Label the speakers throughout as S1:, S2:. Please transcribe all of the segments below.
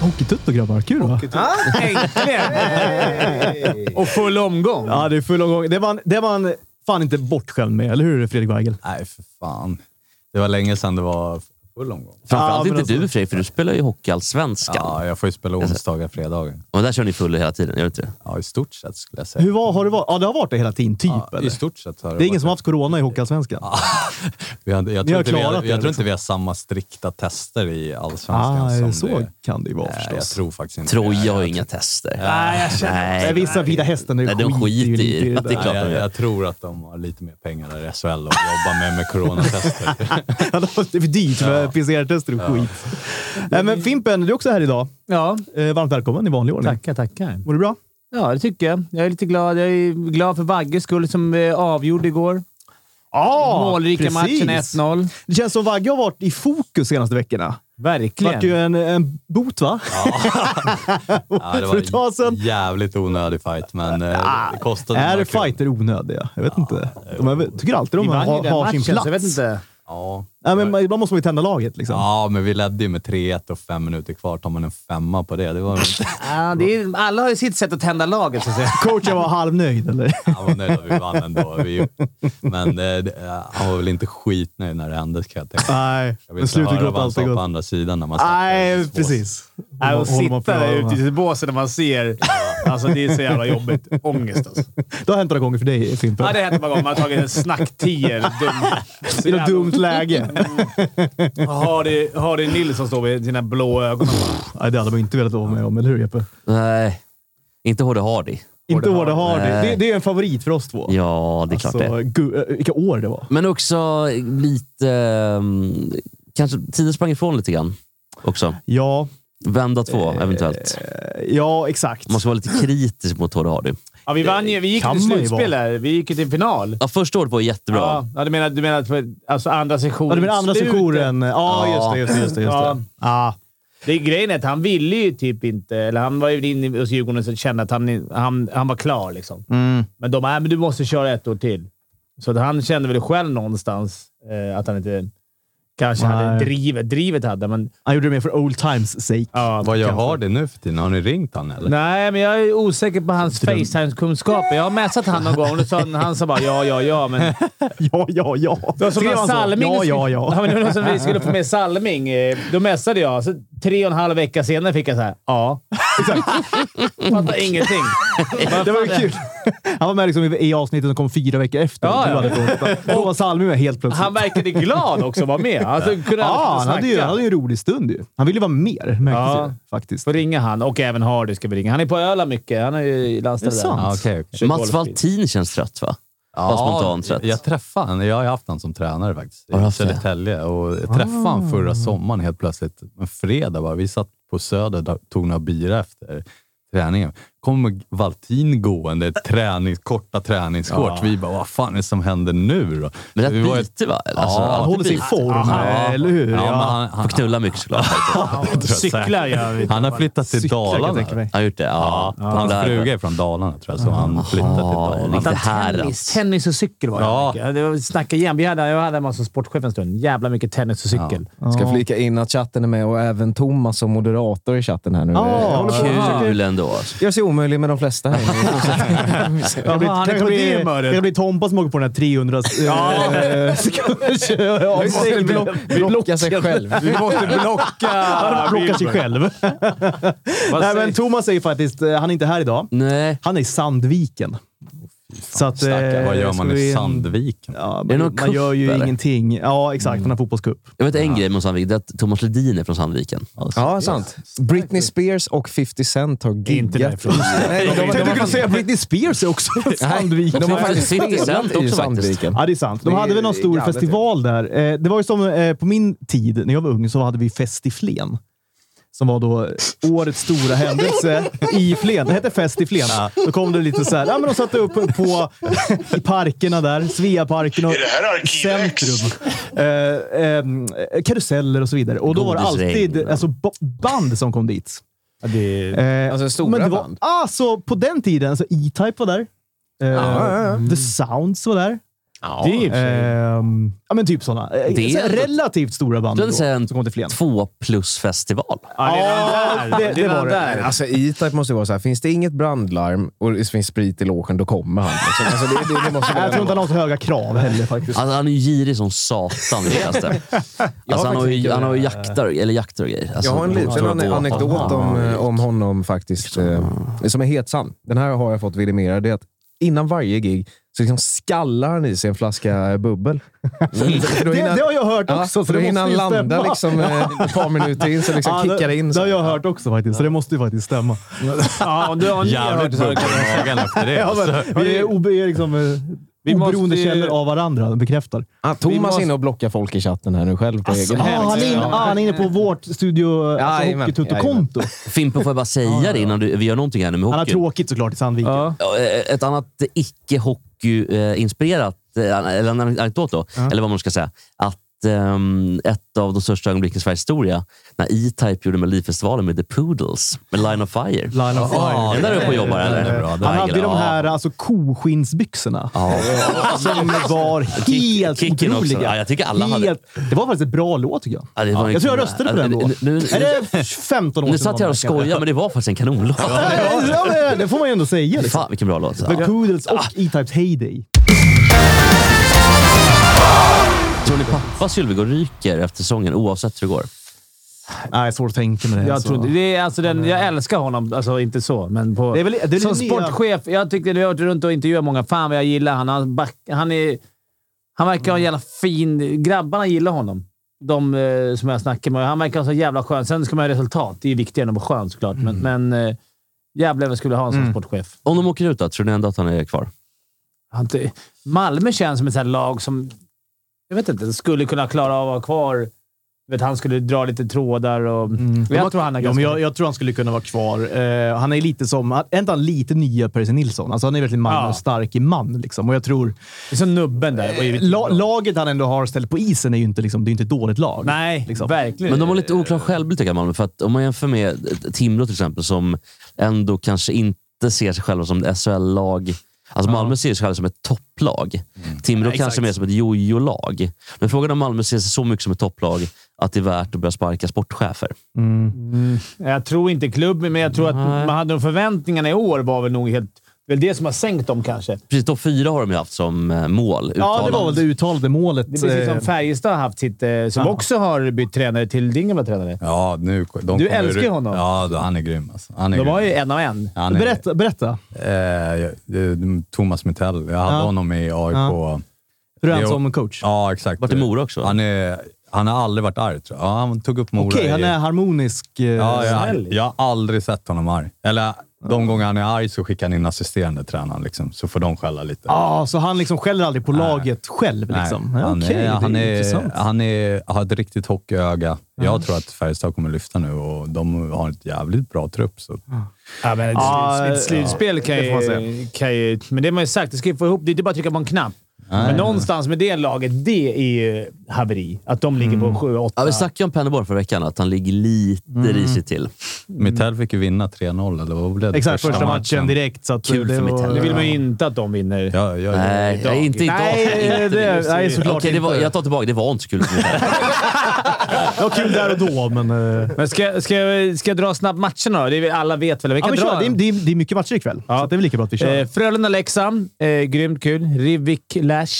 S1: Hockeytutto grabbar. Kul va?
S2: Ah, äntligen! Och full omgång.
S1: Ja, det är full omgång. Det var, en- det var en fan inte bortskämd med, eller hur Fredrik Weigel?
S3: Nej, för fan. Det var länge sedan det var full omgång.
S4: Framförallt
S1: Ja, men
S4: inte du Frej, för du spelar ju Hockeyallsvenskan.
S3: Ja, jag får ju spela
S1: Alltså.
S3: onsdagar, fredagar.
S4: Och där kör ni fulla hela tiden, gör du inte det?
S3: Ja, i stort sett skulle jag säga.
S1: Hur var, har det varit? Ja, det har varit det hela tiden, typ.
S3: ja,
S1: eller?
S3: I stort sett har det
S1: Det är ingen som har
S3: varit-
S1: haft corona i Hockeyallsvenskan.
S3: Vi hade, jag
S1: Ni har
S3: tror, inte vi, har-
S1: klarat
S3: jag
S1: det,
S3: tror
S1: liksom.
S3: inte vi har samma strikta tester i Allsvenskan
S1: Ah, är
S3: som
S1: det så
S3: det
S1: kan det ju vara
S3: Nej,
S1: förstås.
S3: jag tror faktiskt inte det.
S4: Troja har
S3: jag,
S4: ju inga tester.
S2: Nej, jag känner-
S1: Nej,
S4: Nej.
S1: vissa Vita Hästen är
S4: Nej, de skiter
S1: ju
S4: i.
S1: lite
S4: Det är
S1: där.
S4: klart.
S3: Nej, jag, jag tror att de har lite mer pengar där i SHL och jobbar med, med coronatester.
S1: Ja, det var- det är för dyrt för PCR-tester och skit. Nej, men Fimpen, du är också här idag.
S2: Ja,
S1: Eh, varmt välkommen i vanlig ordning.
S2: tackar, tackar.
S1: Mår du bra?
S2: Ja, det tycker jag. Jag är lite glad. Jag är glad för Vagges skull som eh, avgjorde igår.
S1: Ja,
S2: Målrika matchen 1-0.
S1: Det känns som Vagge har varit i fokus senaste veckorna. Det vart ju
S2: Verkligen.
S1: en, en bot, va?
S3: Ja, det
S1: För ett tag
S3: var en
S1: sedan. Ah,
S3: jävligt onödig fight, men eh, det kostade
S1: Är
S3: några kronor.
S1: fighter onödiga? Jag vet inte. De är, tycker alltid de
S2: Vi vann ju
S1: har,
S2: den
S1: har sin
S2: matchen,
S1: plats.
S2: så jag vet inte.
S3: Ja.
S1: Nej, men man- ibland måste man ju tända laget liksom.
S3: ja, men vi ledde ju med 3-1 och fem minuter kvar. Tar man en femma på det, det var...
S2: Ja, det är, alla har ju sitt sätt att tända laget, så att säga.
S1: Coachen var halvnöjd, eller?
S3: Han var nöjd att vi vann ändå. Vi, men eh, det, eh, han var väl inte skitnöjd när det hände, kan jag tänka.
S1: Nej,
S3: Jag
S1: men
S3: vill inte
S1: slutet
S3: höra vad
S1: gråta
S3: han
S1: allt
S3: sa
S1: är
S3: på
S1: gott.
S3: andra sidan när man satt där i
S1: Nej,
S3: bås.
S1: precis.
S5: Nej, och
S1: Håller man på
S5: sitta där
S1: att
S5: ute
S1: höra.
S5: i sitt bås när man ser. Alltså det är så jävla jobbigt. Ångest alltså.
S1: Det har hänt några gånger för dig, Fimpen.
S5: Ja, det hände många gånger. Man har tagit en snack-tio eller dum... så
S1: I något
S5: jävla-
S1: dumt läge.
S5: Har det, har det Nilsson står med sina blå ögon.
S1: Nej, det hade man inte velat vara med om, eller hur Jeppe?
S4: Nej. Inte Hårde Hardy.
S1: Inte Hårde Hardy.
S4: Nej.
S1: Det, det är en favorit för oss två.
S4: Ja, det är klart det.
S1: gu- eh, vilka år det var.
S4: Men också lite... ehm, kanske tiden sprang ifrån lite grann också.
S1: Ja,
S4: Vem av två, eventuellt.
S1: eh, ja exakt.
S4: Måste vara lite kritisk mot Hårde Hardy.
S5: Ja, vi vann ju. Vi gick
S1: Kan
S5: till
S1: man ju
S5: slutspel
S1: vara.
S5: här. Vi gick ju till final.
S4: Ja, första året var jättebra.
S5: Ja, ja, du menar, du menar för, alltså andra sektionen?
S1: Ja, det var andra
S5: slutet.
S1: sektionen. Ja, just det. Just det, just det, just det.
S5: Ja.
S1: Ah.
S5: Det är grejen är att han ville ju typ inte... Eller han var ju inne hos Djurgården och kände att han, han, han var klar liksom.
S1: Mm.
S5: Men de är men du måste köra ett år till. Så att han kände väl själv någonstans eh, att han inte... Kanske
S1: Nej.
S5: hade drivet. Drivet hade men...
S1: Han gjorde det mer för old times sake.
S5: Ja,
S3: Vad jag har det nu för tiden? Har ni ringt han eller?
S5: Nej, men jag är osäker på hans Facetime-kunskaper. Jag har messat han någon gång och så, han sa bara ja, ja, ja. Men
S1: Ja, ja, ja.
S5: det var som
S1: Skrev
S5: när
S1: han så?
S5: Salming...
S1: Ja, ja, ja.
S5: men det var nog som vi skulle få med Salming. eh, Då messade jag. Så tre och en halv vecka senare fick jag så här. Ja. Fattar ingenting.
S1: Det var ju kul. Han var med liksom i- i avsnittet som kom fyra veckor efter.
S5: Ja,
S1: Du
S5: ja.
S1: hade frågat. Då var Salmi med helt plötsligt.
S5: Han verkade glad också att vara med. Alltså, kunde
S1: ja, han
S5: snacka.
S1: hade ju, han hade ju en rolig stund ju. Han ville ju vara mer, märktes
S5: Ja.
S1: ju faktiskt.
S5: Får ringa han och även Hardy ska vi ringa. Han är på Öland mycket. Han är ju i landstället.
S1: Det är
S5: där.
S1: sant.
S3: Ja, okej, okej.
S5: Kör
S4: Mats
S5: golf.
S4: Valtin känns trött, va? Bara spontant
S3: jag,
S4: trött.
S3: jag träffade han. Jag har ju haft han som tränare faktiskt.
S4: Har du
S3: I
S4: haft det?
S3: Södertälje. Och jag träffade han förra sommaren helt plötsligt. En fredag bara. Vi satt på Söder och tog några bira efter träningen. Kommer Valtin gående, tränings, korta träningskort. Vi bara, vad fan är det som händer nu då?
S4: Men rätt
S3: Vi var ju-
S4: byte, va? Alltså,
S3: Ja, han
S4: alltid
S1: Han håller sig i
S4: byte.
S1: form, eller hur?
S3: Ja, men
S1: Ja.
S3: han, han,
S4: Får knulla mycket såklart.
S3: han,
S5: Cyklar gör vi.
S3: han har flyttat till
S1: Cyklar, kan jag
S3: Dalarna.
S1: tänka mig.
S4: Han har gjort det? Ja.
S3: Ja, hans
S4: Där.
S3: fruga är från Dalarna tror jag, så han flyttade till
S4: Ja,
S3: Dalarna.
S4: riktigt.
S5: Utan
S4: Det här
S5: tennis,
S4: alltså.
S5: tennis och cykel var det
S3: Ja.
S5: mycket. det. Var, snacka igen. Vi hade, jag hade en som sportchef en stund. Jävla mycket
S1: alltså
S5: tennis och cykel.
S6: Ska flika in att chatten är med och även Thomas som moderator i chatten här nu.
S1: Ja,
S6: Jag håller på att försöka
S4: Kul ändå. alltså.
S6: göra sig omöjlig med de flesta här nu.
S1: Det blir,
S5: Jaha, han är
S1: kanske
S5: på
S1: blir,
S5: det humöret.
S1: kanske blir Tompa som åker på den här 300 eh, sekunders eh, avstängning.
S6: Blocka sig själv.
S5: Vi måste blocka...
S1: Han plockar sig själv. Nej, men Thomas är ju faktiskt... eh, Han är inte här idag.
S4: Nej.
S1: Han är i Sandviken. Så att,
S3: Stackare,
S1: eh,
S3: vad gör
S1: ska
S3: man
S1: vi-
S3: i Sandviken?
S1: Ja,
S4: det
S1: man,
S4: någon
S1: man gör
S4: cup,
S1: ju
S4: eller?
S1: ingenting. Ja, exakt. Han har fotbollscup.
S4: Jag vet en grej med Sandviken, det är att Thomas Ledin är från Sandviken.
S6: Ja, sant. Britney Spears och 50 Cent har giggat. Nej, de- de- de-
S1: kunde säga Britney Spears är också från
S6: de- de har
S4: faktiskt 50 Cent
S6: spelat
S4: också
S6: i
S4: faktiskt.
S6: Sandviken.
S1: Ja, det är sant. De
S6: Det är
S1: hade väl någon stor
S6: galet,
S1: festival där. Eh, Det var ju som eh, på min tid, när jag var ung, så hade vi Fest i Flen. Som var då årets stora händelse i Flen. Det hette Fest i Flen. Då kom det lite så här, ja men de satte upp på, i parkerna där, Sveaparken och
S7: Är det här Arkiv
S1: centrum. Eh, ehm, karuseller och så vidare. Och då var det
S4: Godisregn.
S1: alltid alltså, ba- band som kom dit.
S5: Det,
S1: Eh,
S6: Alltså, stora
S1: det var, Ah,
S6: band?
S1: Alltså på den tiden. Alltså, E-Type var där. Eh, The Sounds var där.
S4: Ja.
S5: Det är i och för sig-
S1: Ehm, ja, men typ sådana. Eh,
S4: Det är
S1: så här
S4: ändå-
S1: relativt stora band
S4: Det är
S1: då,
S4: väl så här en
S1: som kom till Flen.
S4: Två plus festival.
S5: Ja, redan
S1: Ja,
S5: där.
S1: det- det
S5: Redan
S1: var det.
S5: där.
S6: Alltså E-Type måste ju vara så här. finns det inget brandlarm och det finns sprit i logen, då kommer han. Liksom. Alltså, det, det, det måste vara
S1: Jag tror inte han har så höga krav heller faktiskt.
S4: Alltså, han är ju girig som satan. Niklas, där. alltså, han, har ju,
S6: faktiskt
S4: han har ju jaktar, eller jakter och grejer. Alltså,
S6: Jag har en
S4: tror
S6: liten
S4: att
S6: ane-
S4: Åpan-
S6: anekdot om, eh, om honom faktiskt, eh, som är helt sann. Den här har jag fått vidimera. Det är att innan varje gig så liksom skallar han i sig en flaska eh, bubbel. För då
S1: Mm. Det,
S6: hinner-
S1: det har jag hört
S6: Ja,
S1: också.
S6: för då
S1: det
S6: hinner han
S1: måste ju
S6: landa
S1: stämma.
S6: liksom, eh, ett par minuter in, så liksom
S1: Ja,
S6: kickar det in.
S1: Det
S6: Så.
S1: har jag hört också faktiskt, så det måste ju faktiskt stämma.
S5: Ja, om du har ni hört det
S3: Jävligt
S5: så
S3: bubbel
S5: kan
S3: i magen efter det.
S1: Ja,
S3: alltså.
S1: men, vi är, obe, är liksom, eh,
S5: Vi måste
S1: oberoende
S5: ju-
S1: källor av varandra, bekräftar.
S6: Ah,
S5: Vi
S6: Thomas
S5: måste-
S6: är inne och blockar folk i chatten här nu själv på egen
S1: Ah,
S6: hand.
S1: han, är inne, ah, han är inne på vårt studio
S6: Ja,
S1: alltså,
S6: jajamän,
S1: Hockeytutto-konto.
S4: Fimpen, får jag bara säga det innan du, vi gör någonting här nu med
S1: Han har
S4: hockey.
S1: tråkigt såklart i Sandviken.
S4: Ja, eh, Ett annat icke-hockey-inspirerat, eh, eller en anekdot då, eller vad man ska säga. Att ehm, ett av de största ögonblicken i Sveriges historia, när E-Type gjorde Melodifestivalen med The Poodles, med Line of Fire.
S1: Line of fire.
S4: Ja, den där uppe och jobbar,
S3: Den är
S4: eller?
S3: bra, den
S4: Ja,
S1: Han hade ju de
S4: ja.
S1: här alltså, koskinnsbyxorna. Som var helt
S4: Kick- kicken också.
S1: otroliga.
S4: Ja, jag tycker alla hade-
S1: helt, Det var faktiskt ett bra låt tycker jag.
S4: Ja, det var en
S1: jag tror jag
S4: kul-
S1: röstade på
S4: ja,
S1: den då.
S4: nu- nu-
S1: Är det 15 år sedan?
S4: Nu satt jag och skojade, men det var faktiskt en kanonlåt.
S1: Ja, men det får man ju ändå säga. Liksom.
S4: Fan, vilken bra låt.
S1: The
S4: Ja. Ah.
S1: Poodles och E-Types Heyday.
S4: Tror ni pappa Sylvegård ryker efter säsongen, oavsett hur det går?
S1: Nej, svårt att tänka mig det.
S5: Jag,
S1: så.
S5: tror, inte- det är alltså den, jag älskar honom, alltså inte så, men på,
S1: Det är väl- det är väl
S5: som
S1: nya-
S5: sportchef. Jag tyckte du har varit runt och intervjuat många. Fan vad jag gillar han. Han, back, han, är, han verkar ha en jävla fin... Grabbarna gillar honom. De eh, som jag snackar med. Han verkar ha så jävla skön. Sen ska man ha resultat. Det är ju viktigare än att vara skön såklart, men, men eh, jävlar vad jag skulle ha en sån sportchef.
S4: Om de åker ut då, tror ni ändå att han är kvar?
S5: Han, ty- Malmö känns som ett sånt här lag som... Jag vet inte. Skulle kunna klara av att vara kvar. Jag Vet, han skulle dra lite trådar och... Jag tror han
S1: Mm. ja,
S5: är ganska...
S1: men jag, jag tror han skulle kunna vara kvar. Eh, han är lite som... Är inte han lite nya Percy Nilsson? Alltså, han är verkligen
S5: Ja.
S1: man och stark i man. Liksom. Och jag tror,
S5: Det är som nubben där. Det var ju riktigt
S1: la,
S5: bra.
S1: laget han ändå har ställt på isen är ju inte, liksom, det är ju inte ett dåligt lag.
S5: Nej,
S1: liksom.
S5: verkligen.
S4: Men de har lite oklar självbild tycker jag, Malmö. För att om man jämför med Timrå till exempel, som ändå kanske inte ser sig själva som ett SHL-lag. Alltså Malmö ser sig själva som ett topplag.
S1: Mm.
S4: Timrå kanske mer som ett jojo-lag. Men frågan är om Malmö ser sig så mycket som ett topplag att det är värt att börja sparka sportchefer.
S5: Jag tror inte klubben, men jag tror att man hade de förväntningarna i år var väl nog helt... Det är väl det som har sänkt dem kanske.
S4: Precis, topp fyra har de ju haft som eh, mål.
S1: Ja, det
S4: uttalat.
S1: var väl det uttalade målet.
S5: Det är precis
S1: eh,
S5: som liksom Färjestad har haft sitt, eh, som också har bytt tränare till din gamla tränare.
S3: Ja, nu, de
S5: Du
S3: kommer
S5: älskar
S3: ur-
S5: honom.
S3: Ja, då, han är grym. Alltså. Han är
S5: De
S3: grym.
S5: var ju en av en.
S3: han är,
S1: Berätta. berätta.
S3: Eh, jag- det- Thomas Mitell. Jag hade
S1: Ja.
S3: honom i AIK. Ja.
S1: Hur är han
S3: Jo.
S1: som coach?
S3: ja, exakt.
S4: Vart i Mora också?
S3: Han, är, han har aldrig varit arg tror jag. Ja, han tog upp Mora.
S1: Okej, han
S3: i-
S1: är harmonisk. eh,
S3: Ja,
S5: snäll.
S3: jag, jag har aldrig sett honom arg. Eller de gånger han är arg så skickar han in assisterande tränaren, liksom, så får de skälla lite.
S1: Ah, så han liksom skäller aldrig på laget själv?
S3: Nej,
S1: Liksom.
S3: han,
S1: Okej,
S3: är,
S1: det
S3: han,
S1: är
S3: är,
S1: intressant.
S3: han är, har ett riktigt hockeyöga. Jag tror att Färjestad kommer lyfta nu och de har ett jävligt bra trupp. Så.
S5: Ja, men ett,
S1: Ja,
S5: sluts- ett slutspel kan,
S1: det får man
S5: ju, kan ju... Men det har man ju sagt, det ska ju få ihop. Det är inte bara att trycka på en knapp. men någonstans med det laget, det är ju haveri. Att de ligger på 7-8.
S4: Ja, vi snackade ju om Pennerborg förra veckan, att han ligger lite
S1: Mm.
S4: risigt till.
S3: Mitell fick ju vinna 3-0, eller vad blev det?
S1: Exakt, första matchen direkt. Så att
S4: Kul
S1: det
S4: för
S1: var-
S4: Mitell.
S5: nu vill man ju inte att de vinner.
S3: Ja, ja, ja.
S4: Nej, jag är inte idag.
S1: Nej, det, nej,
S4: Okej,
S1: såklart
S4: det var,
S1: inte.
S4: jag tar tillbaka. Det var inte så kul.
S1: Det var kul där och då, men... eh,
S5: Men ska, ska, jag- ska jag dra snabbt matcherna då? Det är, vi- alla vet väl? Vi
S1: Ja,
S5: kan
S1: men
S5: dra
S1: kör. Det, är, det, är, det är mycket matcher ikväll, så att det är väl lika bra att vi kör.
S5: Eh, Frölunda-Leksand. Eh, grymt kul. Rivik Lash.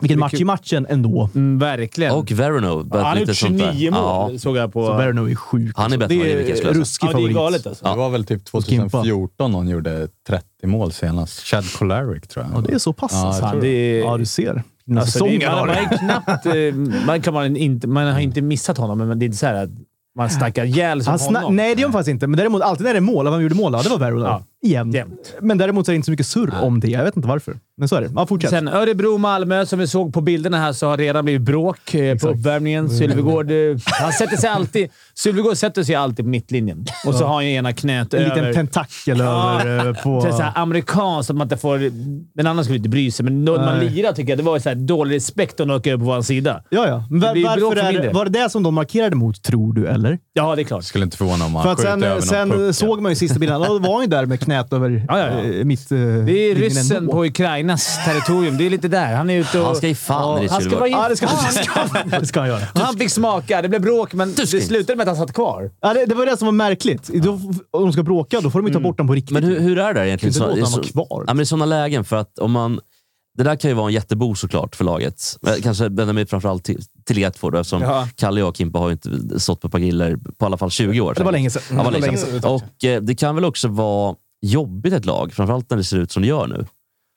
S1: Vilken match i matchen ändå.
S5: Mm, verkligen.
S4: Och Verono.
S5: Ja, han har gjort 29 mål,
S4: Ja,
S5: såg jag på...
S1: Så Berno är sjuk.
S4: Han är bättre än
S1: Alltså, det
S4: Rivik, jag skulle
S1: är
S4: säga.
S1: ruskig
S5: ja, det är
S1: favorit.
S5: galet alltså.
S3: Det var väl typ 2014 någon gjorde 30 mål senast. Chad Kolaric tror jag.
S1: Ja, det är så pass
S3: Ja, jag
S1: alltså.
S5: Fan, det är,
S1: Ja, du ser. Vilken
S5: alltså,
S1: säsong
S5: det är,
S1: han
S5: man,
S1: har.
S5: man är knappt... eh, Man, kan man, inte, man har inte missat honom, men det är inte så här att man snackar ihjäl som
S1: Han sna-
S5: honom.
S1: nej, det gör han faktiskt inte. Men däremot, alltid när det är mål, av han gjorde mål, ja, det var Berro där.
S5: Ja,
S1: Jämnt.
S5: jämnt.
S1: Men däremot så är det inte så mycket surr om det. Jag vet inte varför. Men så är det. Ja, fortsätt.
S5: Sen Örebro-Malmö, som vi såg på bilderna här, så har redan blivit bråk eh, på uppvärmningen.
S1: Mm.
S5: Sylvegård, eh, han sätter sig alltid... Sylvegård sätter sig alltid på mittlinjen. Och så har han ju ena knät
S1: en
S5: över.
S1: liten tentakel
S5: Ja.
S1: över eh, på...
S5: Så så här amerikanskt, att man inte får... En annan skulle inte bry sig, men när man
S1: Nej.
S5: lirar tycker jag det var ju så här dålig respekt om de åker upp på vår sida.
S1: Ja, ja. Men var,
S5: Det blir bråk
S1: varför
S5: för min
S1: är, det-
S5: del.
S1: var det det som de markerade mot, tror du, eller?
S5: Ja, det är klart.
S3: Skulle inte förvåna om han
S1: För att
S3: skjuter över
S1: sen,
S3: någon puck.
S1: sen såg man ju sista bilden. Då var han ju där med knät över
S5: Ja, ja, ja.
S1: eh, mitt... eh,
S5: Det är
S1: linjen
S5: ryssen
S1: ändå.
S5: på Ukrainas territorium. Det är lite där. Han är ute och...
S4: Han ska i fan i det
S5: Han ska vara i
S1: Ja, det ska,
S5: fan.
S1: det, ska, det ska han göra.
S5: Han fick smaka. Det blev bråk, men det
S4: Tusken.
S5: slutade med att han satt kvar.
S1: Ja, det, det var det som var märkligt. Då, om de ska bråka, då får de ju ta
S5: Mm.
S1: bort den på riktigt.
S4: Men hur, hur är det där egentligen?
S1: Inte
S4: Så-
S1: låta
S4: det är
S1: han
S4: så-
S1: vara kvar.
S4: Ja, men I sådana lägen, för att om man... Det där kan ju vara en jättebov såklart för laget. Men Kanske vänder mig framförallt till, till er två då, eftersom
S5: Ja.
S4: Kalle och Kimpa har ju inte stått på Pagiller på i alla fall 20 år.
S1: det var länge sedan.
S4: Ja, vad länge sedan. Och eh, det kan väl också vara jobbigt ett lag, framförallt när det ser ut som det gör nu.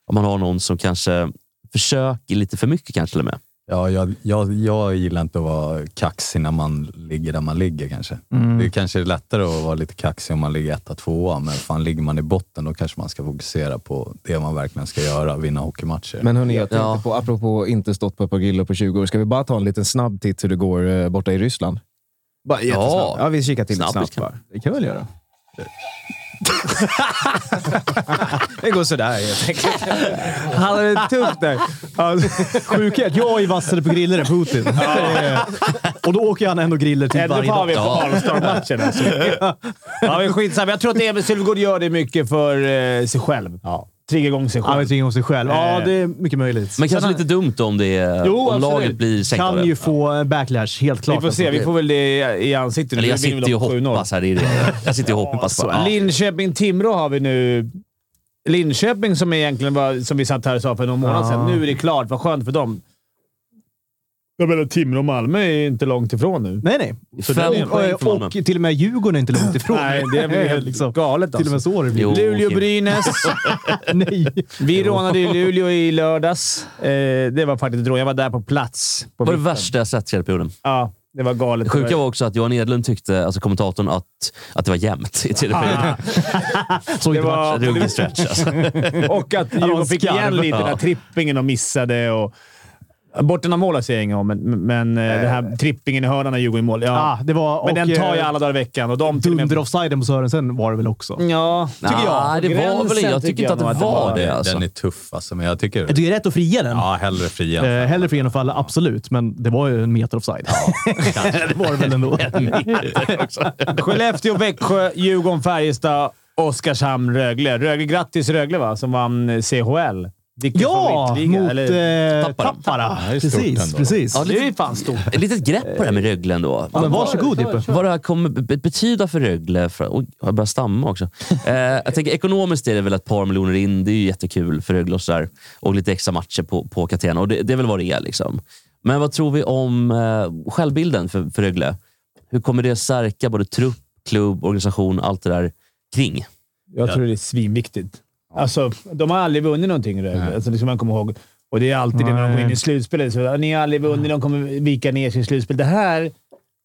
S4: Om man har någon som kanske försöker lite för mycket kanske till och med.
S3: Ja, jag, jag, jag gillar inte att vara kaxig när man ligger där man ligger kanske. Det är kanske är lättare att vara lite kaxig om man ligger etta, tvåa, men fan ligger man i botten då kanske man ska fokusera på det man verkligen ska göra, vinna hockeymatcher.
S6: Men hörni, jag tänkte
S4: Ja.
S6: på, apropå inte stått på Pagrillo på 20 år, ska vi bara ta en liten snabb titt hur det går eh, borta i Ryssland? Bara
S4: jättesnabbt.
S6: Ja, vi kikar till snabbt,
S4: Snabbt,
S6: snabbt
S4: kan-
S6: bara. Det kan vi väl göra. det går sådär helt enkelt. Han hade det tufft där.
S5: Alltså,
S1: Sjukhet. Jag är vassare på griller än Putin. och då åker han ändå griller till
S5: Ändå
S1: varje
S5: får vi
S1: dag.
S5: på All-Star-matchen. Alltså. ja, men skitsamma. Jag tror att Emil Sylvegård gör det mycket för eh, sig själv. Ja. Triggar igång sig
S1: Han
S5: själv.
S1: vet inget om sig själv. Ja,
S5: Eh.
S1: det är mycket möjligt.
S4: Men kanske lite dumt om, det är,
S5: Jo,
S4: om
S5: absolut.
S4: laget blir sänkt av
S1: kan
S4: det.
S1: ju få eh, backlash, helt klart. alltså.
S5: vi får se. Vi får väl det i- i ansiktet.
S4: Eller
S5: Nu
S4: jag
S5: vinner vi
S4: sitter ju och
S5: dock 7-0.
S4: hoppas här. Det är det. Jag sitter ju och hoppas. på. Ja.
S5: Linköping-Timrå har vi nu. Linköping som egentligen var, som vi satt här och sa för någon månad sedan. Nu är det klart. Vad skönt för dem. Jag menar, Timrå och Malmö är inte långt ifrån nu.
S1: Nej, nej.
S4: Fem
S1: Och- eh,
S4: poäng för
S1: Och,
S4: Malmö.
S1: och till och med Djurgården är inte långt ifrån.
S5: Nej, det är väl helt
S1: Liksom.
S5: galet
S1: Till och
S5: alltså.
S1: med så har det
S4: Jo,
S1: blivit.
S4: Kim.
S5: Luleå-Brynäs.
S1: Nej.
S5: Vi rånade ju Luleå i lördags. Eh, det var faktiskt ett rån. Jag var där på plats. På
S4: Det var det
S5: mitten.
S4: värsta jag sett i hela perioden.
S5: Ja, det var galet.
S4: Det sjuka var också att Johan Edlund tyckte, alltså kommentatorn, att, att det var jämnt i tredje perioden.
S1: Såg
S5: Det
S1: inte matchen.
S5: var-
S4: Ruggig stretch alltså.
S5: Och att Djurgården fick
S1: skarv.
S5: igen lite. Den här
S4: Ja.
S5: trippingen de missade. Och... Borten av mål säger jag inget om, men, men eh, den här trippingen i hörnan när Djurgården i mål. Ja.
S1: Ah, det var...
S5: men den
S1: och,
S5: tar ju
S1: eh,
S5: alla Mm. dagar i veckan. Och de till och med-
S1: Dunder-offsiden på Sörensen var det väl också?
S5: Ja, tycker jag.
S4: Nej, Ah, det var väl
S5: Gränsen
S4: Jag tycker inte att det
S5: nog
S4: var det.
S3: Den-
S4: Alltså.
S3: Den är tuff alltså, men jag tycker...
S1: Jag tycker det är rätt att fria den.
S3: Ja, hellre fri än
S1: Eh, hellre fri än att falla, absolut. Men det var ju en meter offside. det var det väl ändå.
S5: Skellefteå, Växjö, Djurgården, Färjestad, Oskarshamn, Rögle. Rögle. Grattis Rögle va, som vann eh, CHL. Vilken
S1: ja,
S5: favoritliga,
S1: mot
S5: eller?
S1: eh,
S4: Tappara.
S1: Tappara.
S3: är stort
S1: Precis,
S3: ändå.
S1: precis.
S4: Ja,
S5: Det är ju fan stort.
S4: Ett litet grepp på det här med Rögle ändå.
S1: Ja, men varsågod Dippe.
S4: Vad det här kommer be- betyda för Rögle. För, oj, jag börjar stamma också. Eh, jag tänker, ekonomiskt är det väl ett par miljoner in. Det är ju jättekul för Rögle och sådär. Och lite extra matcher på, på Catena. Och det, det är väl vad det är. Liksom. Men vad tror vi om eh, självbilden för, för Rögle? Hur kommer det stärka både trupp, klubb, organisation, allt det där kring?
S5: Jag tror det är svinviktigt. Alltså, de har aldrig vunnit någonting Rögle. Alltså, det ska man komma ihåg. Och det är alltid det när de går in i slutspelet. Så, ni har aldrig vunnit, de kommer vika ner sig i slutspel. Det här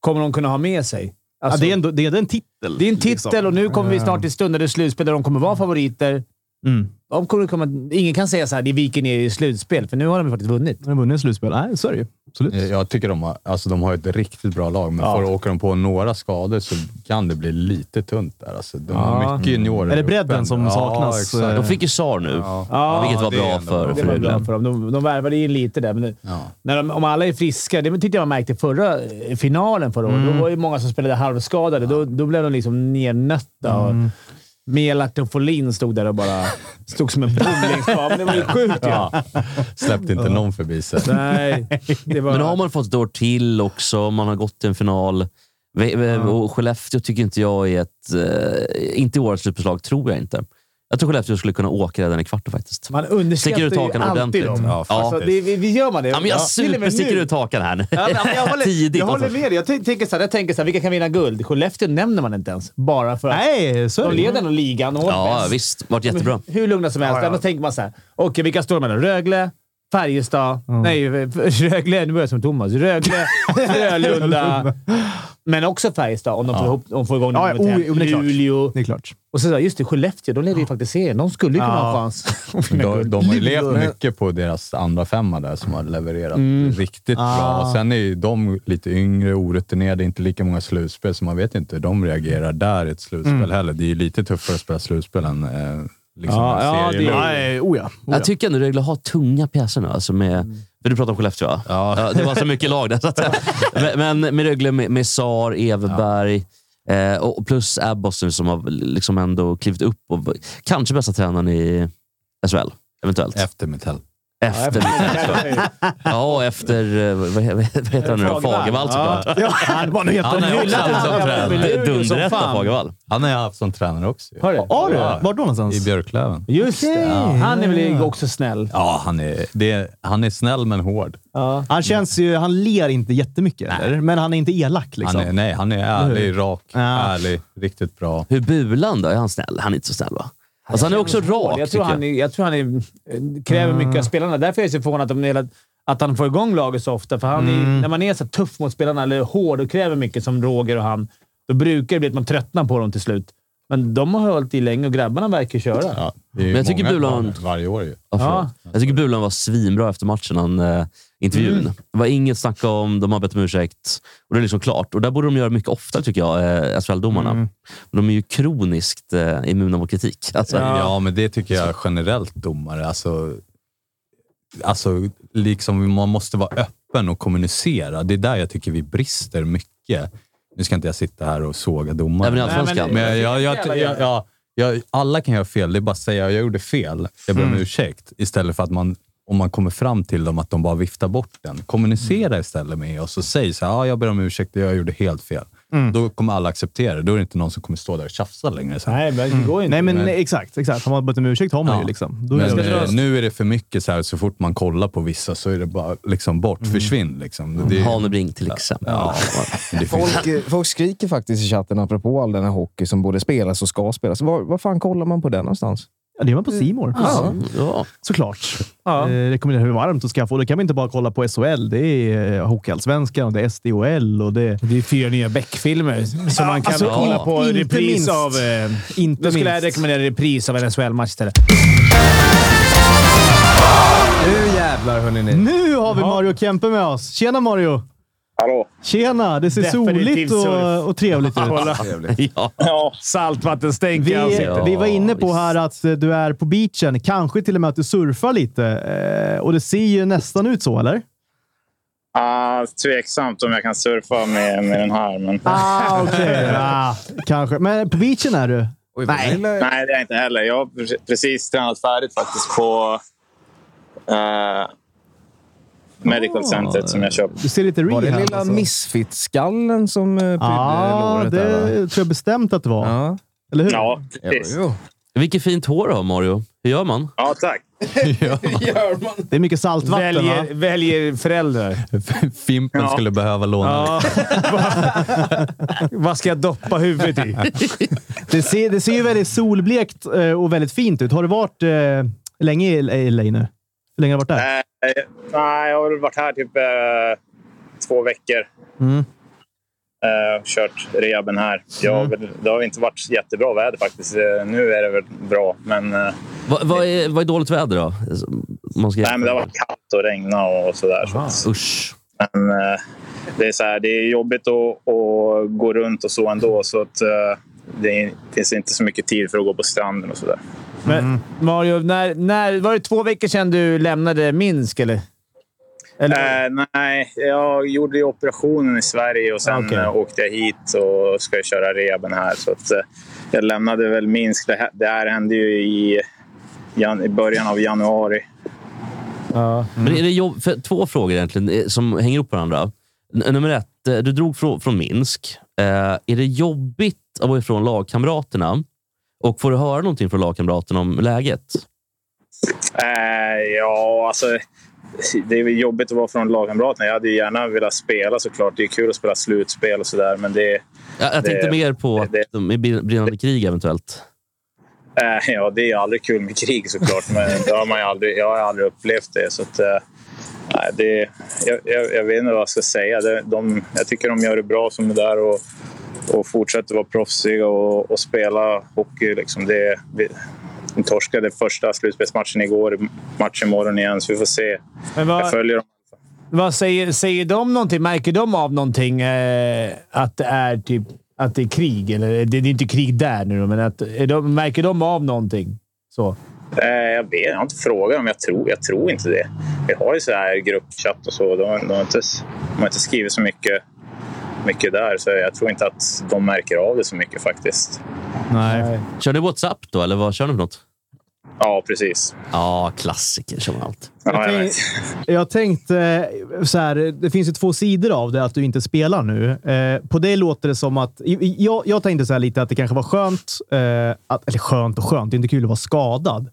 S5: kommer de kunna ha med sig.
S1: Ja,
S5: Alltså,
S1: det, är ändå, det är en liksom. titel.
S5: det är en titel och nu kommer vi snart till stunder i slutspel där de kommer vara favoriter.
S1: Mm.
S5: De kommer, komma- ingen kan säga så här, ni viker ner er i slutspel, för nu har de faktiskt vunnit.
S1: Har de vunnit slutspel? Nej, så är det ju. Absolut.
S3: Eh, Jag tycker de har, alltså de har ett riktigt bra lag, men får åker de på några skador så kan det bli lite tunt där. Alltså, de har mycket juniorer.
S1: Är det bredden
S3: uppe ändå.
S1: som saknas?
S3: exakt.
S4: De fick ju SAR nu,
S5: Ja,
S4: vilket var
S3: det är
S4: bra
S3: ändå
S4: för,
S3: bra.
S5: Det
S4: för
S5: var bra
S4: Rögle.
S5: för dem. De, de värvade in lite där, men nu,
S3: Ja.
S5: när de, om alla är friska. Det tyckte jag man märkte i förra eh, finalen förra året.
S4: Mm.
S5: Då var ju många som spelade halvskadade. Då, då blev de liksom nernötta.
S4: Mm.
S5: Och Melart och Folin stod där och bara stod som en bowlingspad. Men det var ju sjukt ju.
S3: Ja. Släppte inte någon förbi sig.
S5: Nej, det var...
S4: Men har man fått ett år till också, man har gått till en final. Ve- ve- Och Skellefteå tycker inte jag är ett... Eh, inte i årets slutbeslag, tror jag inte. Jag tror Skellefteå skulle kunna åka redan i kvarten faktiskt.
S5: man
S4: Sticker ut
S5: underskattar ju
S4: hakan
S5: alltid
S4: ordentligt.
S5: dem.
S3: Ja,
S5: Alltså,
S3: faktiskt.
S5: det, vi, vi gör man det.
S4: Ja, men jag
S5: Till och med
S4: supersticker
S5: nu.
S4: ut hakan här nu.
S5: Ja, men jag håller,
S4: Tidigt.
S5: jag håller
S4: alltså.
S5: med dig. Jag t- tänker så här, jag tänker så här, vilka kan vinna guld? Skellefteå nämner man inte ens. Bara för att
S1: Nej, så är
S5: de
S1: det ju.
S5: leder nog ligan. och har
S4: Ja,
S5: bäst.
S4: visst. Vart jättebra.
S5: Hur lugna som helst. Annars tänker man så här. Okej, vilka står mellan? Rögle, Färjestad... Nej, eh, Rögle. Nu börjar jag som Thomas. Rögle, Frölunda. Men också Färjestad om de får, ihop, om de får igång
S1: Ja, ja,
S5: nummer
S1: o-
S5: fem.
S1: jo, men det är klart.
S5: Luleå.
S1: Det är klart.
S5: Och så, så här, just det, Skellefteå. De leder ju faktiskt serien. De skulle ju kunna ha chans. att vinna
S3: De,
S5: guld.
S3: de har ju levt mycket på deras andra femma där som har levererat riktigt bra. Och sen är ju de lite yngre, orutinerade, inte lika många slutspel, så man vet inte hur de reagerar där i ett slutspel heller. Det är ju lite tuffare att spela slutspel än eh, liksom
S5: Ja,
S3: en
S5: ja,
S3: serie.
S5: det-
S1: Nej, oh ja. Oh
S4: Jag tycker ändå Rögle har tunga pjäser nu. Alltså med,
S5: Mm.
S4: för Du pratar om Skellefteå, va?
S3: Ja.
S4: det var så mycket lag där. Så att, men, men med Rögle, med, med Sar, Everberg, Eh, och plus Abbas nu som har liksom ändå klivit upp och kanske bästa tränaren i SHL. Eventuellt.
S3: Efter Mitell.
S4: efter Ja, och efter... eh, Vad, vad, vad heter han nu då? Fagervall
S5: Fagervall. Ja.
S4: såklart.
S1: Ja, vad nu heter
S3: Han
S1: den?
S3: är också
S5: hyllar
S3: haft som
S5: han.
S3: tränare.
S5: Luleå som
S4: Dunderetta
S5: fan.
S4: Fagervall.
S3: Han har jag haft som tränare också. ju.
S5: Har du?
S1: Har du?
S3: Ja.
S1: Vart då någonstans?
S3: I Björklöven.
S5: Just det. Han är väl också snäll.
S3: Ja, han är, det är, han är snäll men hård.
S5: Ja.
S1: Han känns ju... Han ler inte jättemycket, eller? men han är inte elak. Liksom.
S3: Han är, nej, han är ärlig, rak,
S1: Ja.
S3: ärlig, riktigt bra.
S4: Hur Bulan då? Är han snäll? Han är inte så snäll va? Alltså, han är också rak,
S5: Jag
S4: tycker
S5: tror
S4: jag.
S5: han, är, jag tror han är, kräver mycket av spelarna. Därför är jag så förvånad att, de hela, att han får igång laget så ofta. För han är, när man är så tuff mot spelarna, eller hård och kräver mycket, som Roger och han, då brukar det bli att man tröttnar på dem till slut. Men de har hållit i länge och grabbarna verkar köra.
S3: Ja, det är ju
S4: Men jag tycker
S3: många
S4: Bulan-
S3: planer Varje år ju.
S4: Ja, förlåt. Jag tycker Bulan var svinbra efter matchen, han, eh, intervjun.
S3: Mm.
S4: Det var inget snack om, de har bett om ursäkt och det är liksom klart. Och där borde de göra mycket ofta tycker jag, eh, SHL-domarna.
S3: Mm.
S4: De är ju kroniskt eh, immuna mot kritik. Alltså,
S3: Ja. men det tycker jag generellt domare. Alltså, alltså, liksom, man måste vara öppen och kommunicera. Det är där jag tycker vi brister mycket. Nu ska inte jag sitta här och såga domare.
S4: Även i Allsvenskan.
S3: Men alltså, jag, jag, jag, jag, jag, jag, alla kan göra fel. Det är bara att säga jag gjorde fel. Jag ber om ursäkt. Istället för att man, om man kommer fram till dem, att de bara viftar bort den. Kommunicera istället med oss och säg så här, ah, jag ber om ursäkt, jag gjorde helt fel. Då kommer alla acceptera det. Då är det inte någon som kommer stå där och tjafsa längre. Så här.
S5: Nej, men det går ju inte.
S1: Mm. Nej, men exakt. exakt. Har man bett om ursäkt har man
S3: Ja.
S1: ju. Liksom. Då är
S3: Men
S1: det-
S3: eh, nu är det för mycket så här, så fort man kollar på vissa så är det bara liksom bort, försvinn liksom. Det,
S4: Hanebring till exempel.
S3: ja, det finns,
S6: Folk, eh, folk skriker faktiskt i chatten apropå all den här hockey som både spelas och ska spelas. Var, var fan kollar man på den någonstans?
S1: Ja, det är man på Simor.
S6: Ja.
S4: Ja.
S1: Såklart.
S5: Ja.
S1: Eh, rekommenderar hur varmt du ska få. Då kan man inte bara kolla på SHL. Det är eh, Hockeyallsvenskan och det är SDHL och det...
S5: Det är fyra nya Beck-filmer som man kan
S1: alltså,
S5: kolla på
S1: inte
S5: repris
S1: minst.
S5: av. Eh,
S1: Inte
S5: då skulle
S1: minst.
S5: jag rekommendera repris av en SHL-match istället.
S6: Nu jävlar hörni ni.
S1: Nu har vi Mario Kempe med oss. Tjena Mario!
S7: Hallå?
S1: Tjena! Det ser
S5: Definitiv
S1: soligt
S5: surf.
S1: och, och trevligt ut.
S5: Kolla.
S4: Ja.
S7: Ja,
S5: Saltvattenstänk
S1: Vi,
S5: i ansiktet.
S1: vi var inne på här att eh, du är på beachen. Kanske till och med att du surfar lite. Eh, Och det ser ju nästan ut så, eller?
S7: ah, tveksamt om jag kan surfa med, med den här. Men...
S1: Ah, okej. Ah, kanske. Men på beachen är du.
S6: Nej.
S7: Nej, det är jag inte heller. Jag har pre- precis tränat färdigt faktiskt på eh, Medical Centret som jag köpte.
S1: Du ser lite
S6: Var
S1: rehab.
S6: det lilla
S1: alltså.
S6: misfit-skallen som eh, prydde
S1: Ja,
S6: låret
S1: det
S6: där? va?
S1: tror jag bestämt att det var.
S6: Ja.
S1: Eller hur?
S7: Ja,
S6: Jo,
S7: precis.
S6: jo.
S4: Vilket fint hår du har, Mario. Hur gör man?
S7: Ja, tack.
S1: Det är mycket saltvatten, va?
S5: Väljer, väljer föräldrar.
S3: Fimpen
S7: Ja.
S3: skulle behöva låna.
S5: Ja. Vad ska jag doppa huvudet i?
S1: Det ser, det ser ju väldigt solblekt eh, och väldigt fint ut. Har du varit eh, länge i LA nu? Hur länge har du varit där?
S7: Eh, nej, jag har väl varit här typ eh, två veckor.
S1: Mm.
S7: Eh, kört rehaben här. Jag, har väl- Det har inte varit jättebra väder faktiskt. Eh, nu är det väl bra, men, eh,
S4: Va, vad, är, vad är dåligt väder då? Man ska
S7: nej, men det har varit kallt och regnat och, och sådär. Så att-
S4: Usch.
S7: Men eh, det är, så här, det är jobbigt att, att gå runt och så ändå. Så att, eh, det är- finns inte så mycket tid för att gå på stranden och sådär.
S5: Men Mario, när, när, var det två veckor sedan du lämnade Minsk? Eller? eller
S7: Eh, nej, jag gjorde ju operationen i Sverige och sen
S5: Okej.
S7: eh, åkte jag hit och ska ju köra reben här. Så att, eh, jag lämnade väl Minsk. Det här, det här hände ju i, jan, i början av januari.
S5: ja.
S4: Men är det jobb, för två frågor egentligen eh, som hänger upp på varandra. N- nummer ett, eh, du drog från, från Minsk. Eh, är det jobbigt att vara ifrån lagkamraterna? Och får du höra någonting från lagkamraterna om läget?
S7: Eh, ja, alltså... Det är väl jobbigt att vara från lagkamraterna. Jag hade ju gärna velat spela såklart. Det är kul att spela slutspel och sådär, men det...
S4: Jag, jag
S7: Det-
S4: tänkte mer på att
S7: det-
S4: de är brin- brinnande krig eventuellt.
S7: Eh, Ja, det är ju aldrig kul med krig såklart, men det har man ju aldrig, jag har aldrig upplevt det. Så att, eh, nej, det jag, jag, jag vet inte vad jag ska säga. Det, de, jag tycker de gör det bra som är där och, och fortsätter vara proffsiga och, och spela hockey. Liksom. Det, vi, de torskade första slutspelsmatchen igår, match imorgon igen, så vi får se.
S5: Men
S7: Jag
S5: vad,
S7: följer dem.
S5: vad säger, säger de någonting? Märker de av någonting? Eh, att det är typ att det är krig? Eller, det, det är inte krig där nu, då, men att, är de, märker de av någonting? Så.
S7: Eh, Jag, vet, jag har inte frågat dem, jag tror, jag tror inte det. Vi har ju så här gruppchatt och så. De, de, har inte, de har inte skrivit så mycket mycket där, så jag tror inte att de märker av det så mycket faktiskt.
S1: Nej.
S4: Kör ni WhatsApp då, eller vad kör ni för något?
S7: Ja, precis.
S4: Ja, klassiker kör man allt.
S7: Ja, jag
S1: tänk-
S7: vet.
S1: Jag tänkte eh, så här, det finns ju två sidor av det, att du inte spelar nu. Eh, på det låter det som att... i- i- Jag, jag tänkte så här lite att det kanske var skönt, eh, att, eller skönt och skönt, det är inte kul att vara skadad.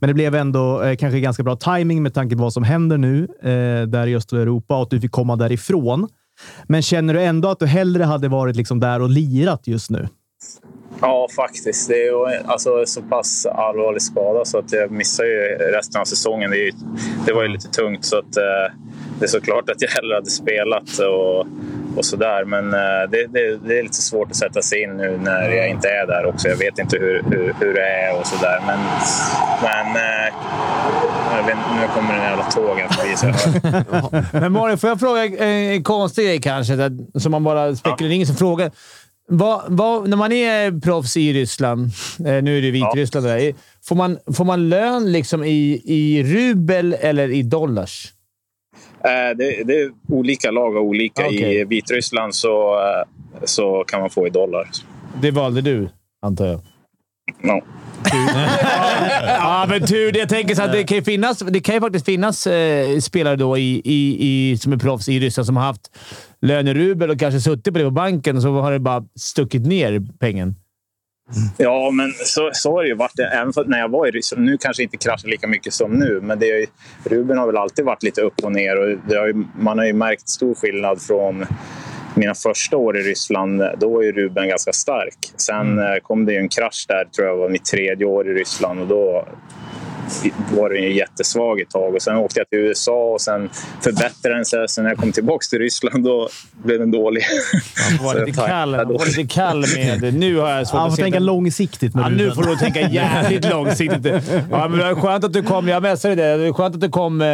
S1: Men det blev ändå eh, kanske ganska bra timing med tanke på vad som händer nu eh, där i östra Europa och att du fick komma därifrån. Men känner du ändå att du hellre hade varit liksom där och lirat just nu?
S7: Ja, faktiskt. Det är ju alltså, så pass allvarlig skada så att jag missar ju resten av säsongen. Det, är ju, det var ju lite tungt så att eh, det är såklart att jag hellre hade spelat och, och sådär. Men eh, det, det, det är lite svårt att sätta sig in nu när jag inte är där också. Jag vet inte hur, hur, hur det är och sådär. Men, men eh, jag vet, nu kommer den jävla tågen förbi. Så jag hör.
S5: Men Malin, får jag fråga en, en konstig grej kanske? där- Som man bara spekulerar. Det är ingen som frågar. Vad, vad, när man är proffs i Ryssland, eh, nu är det Vitryssland, det där, får, man, får man lön liksom i, i rubel eller i dollars?
S7: Eh, det, det är olika lag och olika.
S5: Okej.
S7: I Vitryssland så, eh, så kan man få i dollar.
S5: Det valde du, antar jag.
S7: Ja.
S5: Ja, men tur det. Jag tänker så att det kan ju, finnas, det kan ju faktiskt finnas eh, spelare då i, i, i, som är proffs i Ryssland som har haft lön i rubel och kanske suttit på det på banken och så har det bara stuckit ner pengen.
S7: Ja, men så, så har det ju varit. Även för, när jag var i Ryssland. Nu kanske inte kraschar lika mycket som nu, men det är, ju- Ruben har väl alltid varit lite upp och ner. Och det har ju, man har ju märkt stor skillnad från mina första år i Ryssland. Då var ju Ruben ganska stark. Sen
S5: Mm.
S7: eh, kom det ju en krasch där, tror jag var mitt tredje år i Ryssland. Och då var den ju jättesvag ett tag. Och sen åkte jag till USA och sen förbättrade den sig. Sen när jag kom tillbaka till Ryssland då blev den dålig.
S5: Han var
S7: Så
S5: lite
S7: jag tack-
S5: kall, han var lite kall med... Nu har jag svårt
S1: Man
S5: att
S1: får
S5: se
S1: tänka
S5: den.
S1: långsiktigt med
S5: Ja, nu
S1: Ruben.
S5: får du tänka jävligt långsiktigt. Ja, men det är skönt att du kom. Jag messade dig. Det är skönt att du kom. eh,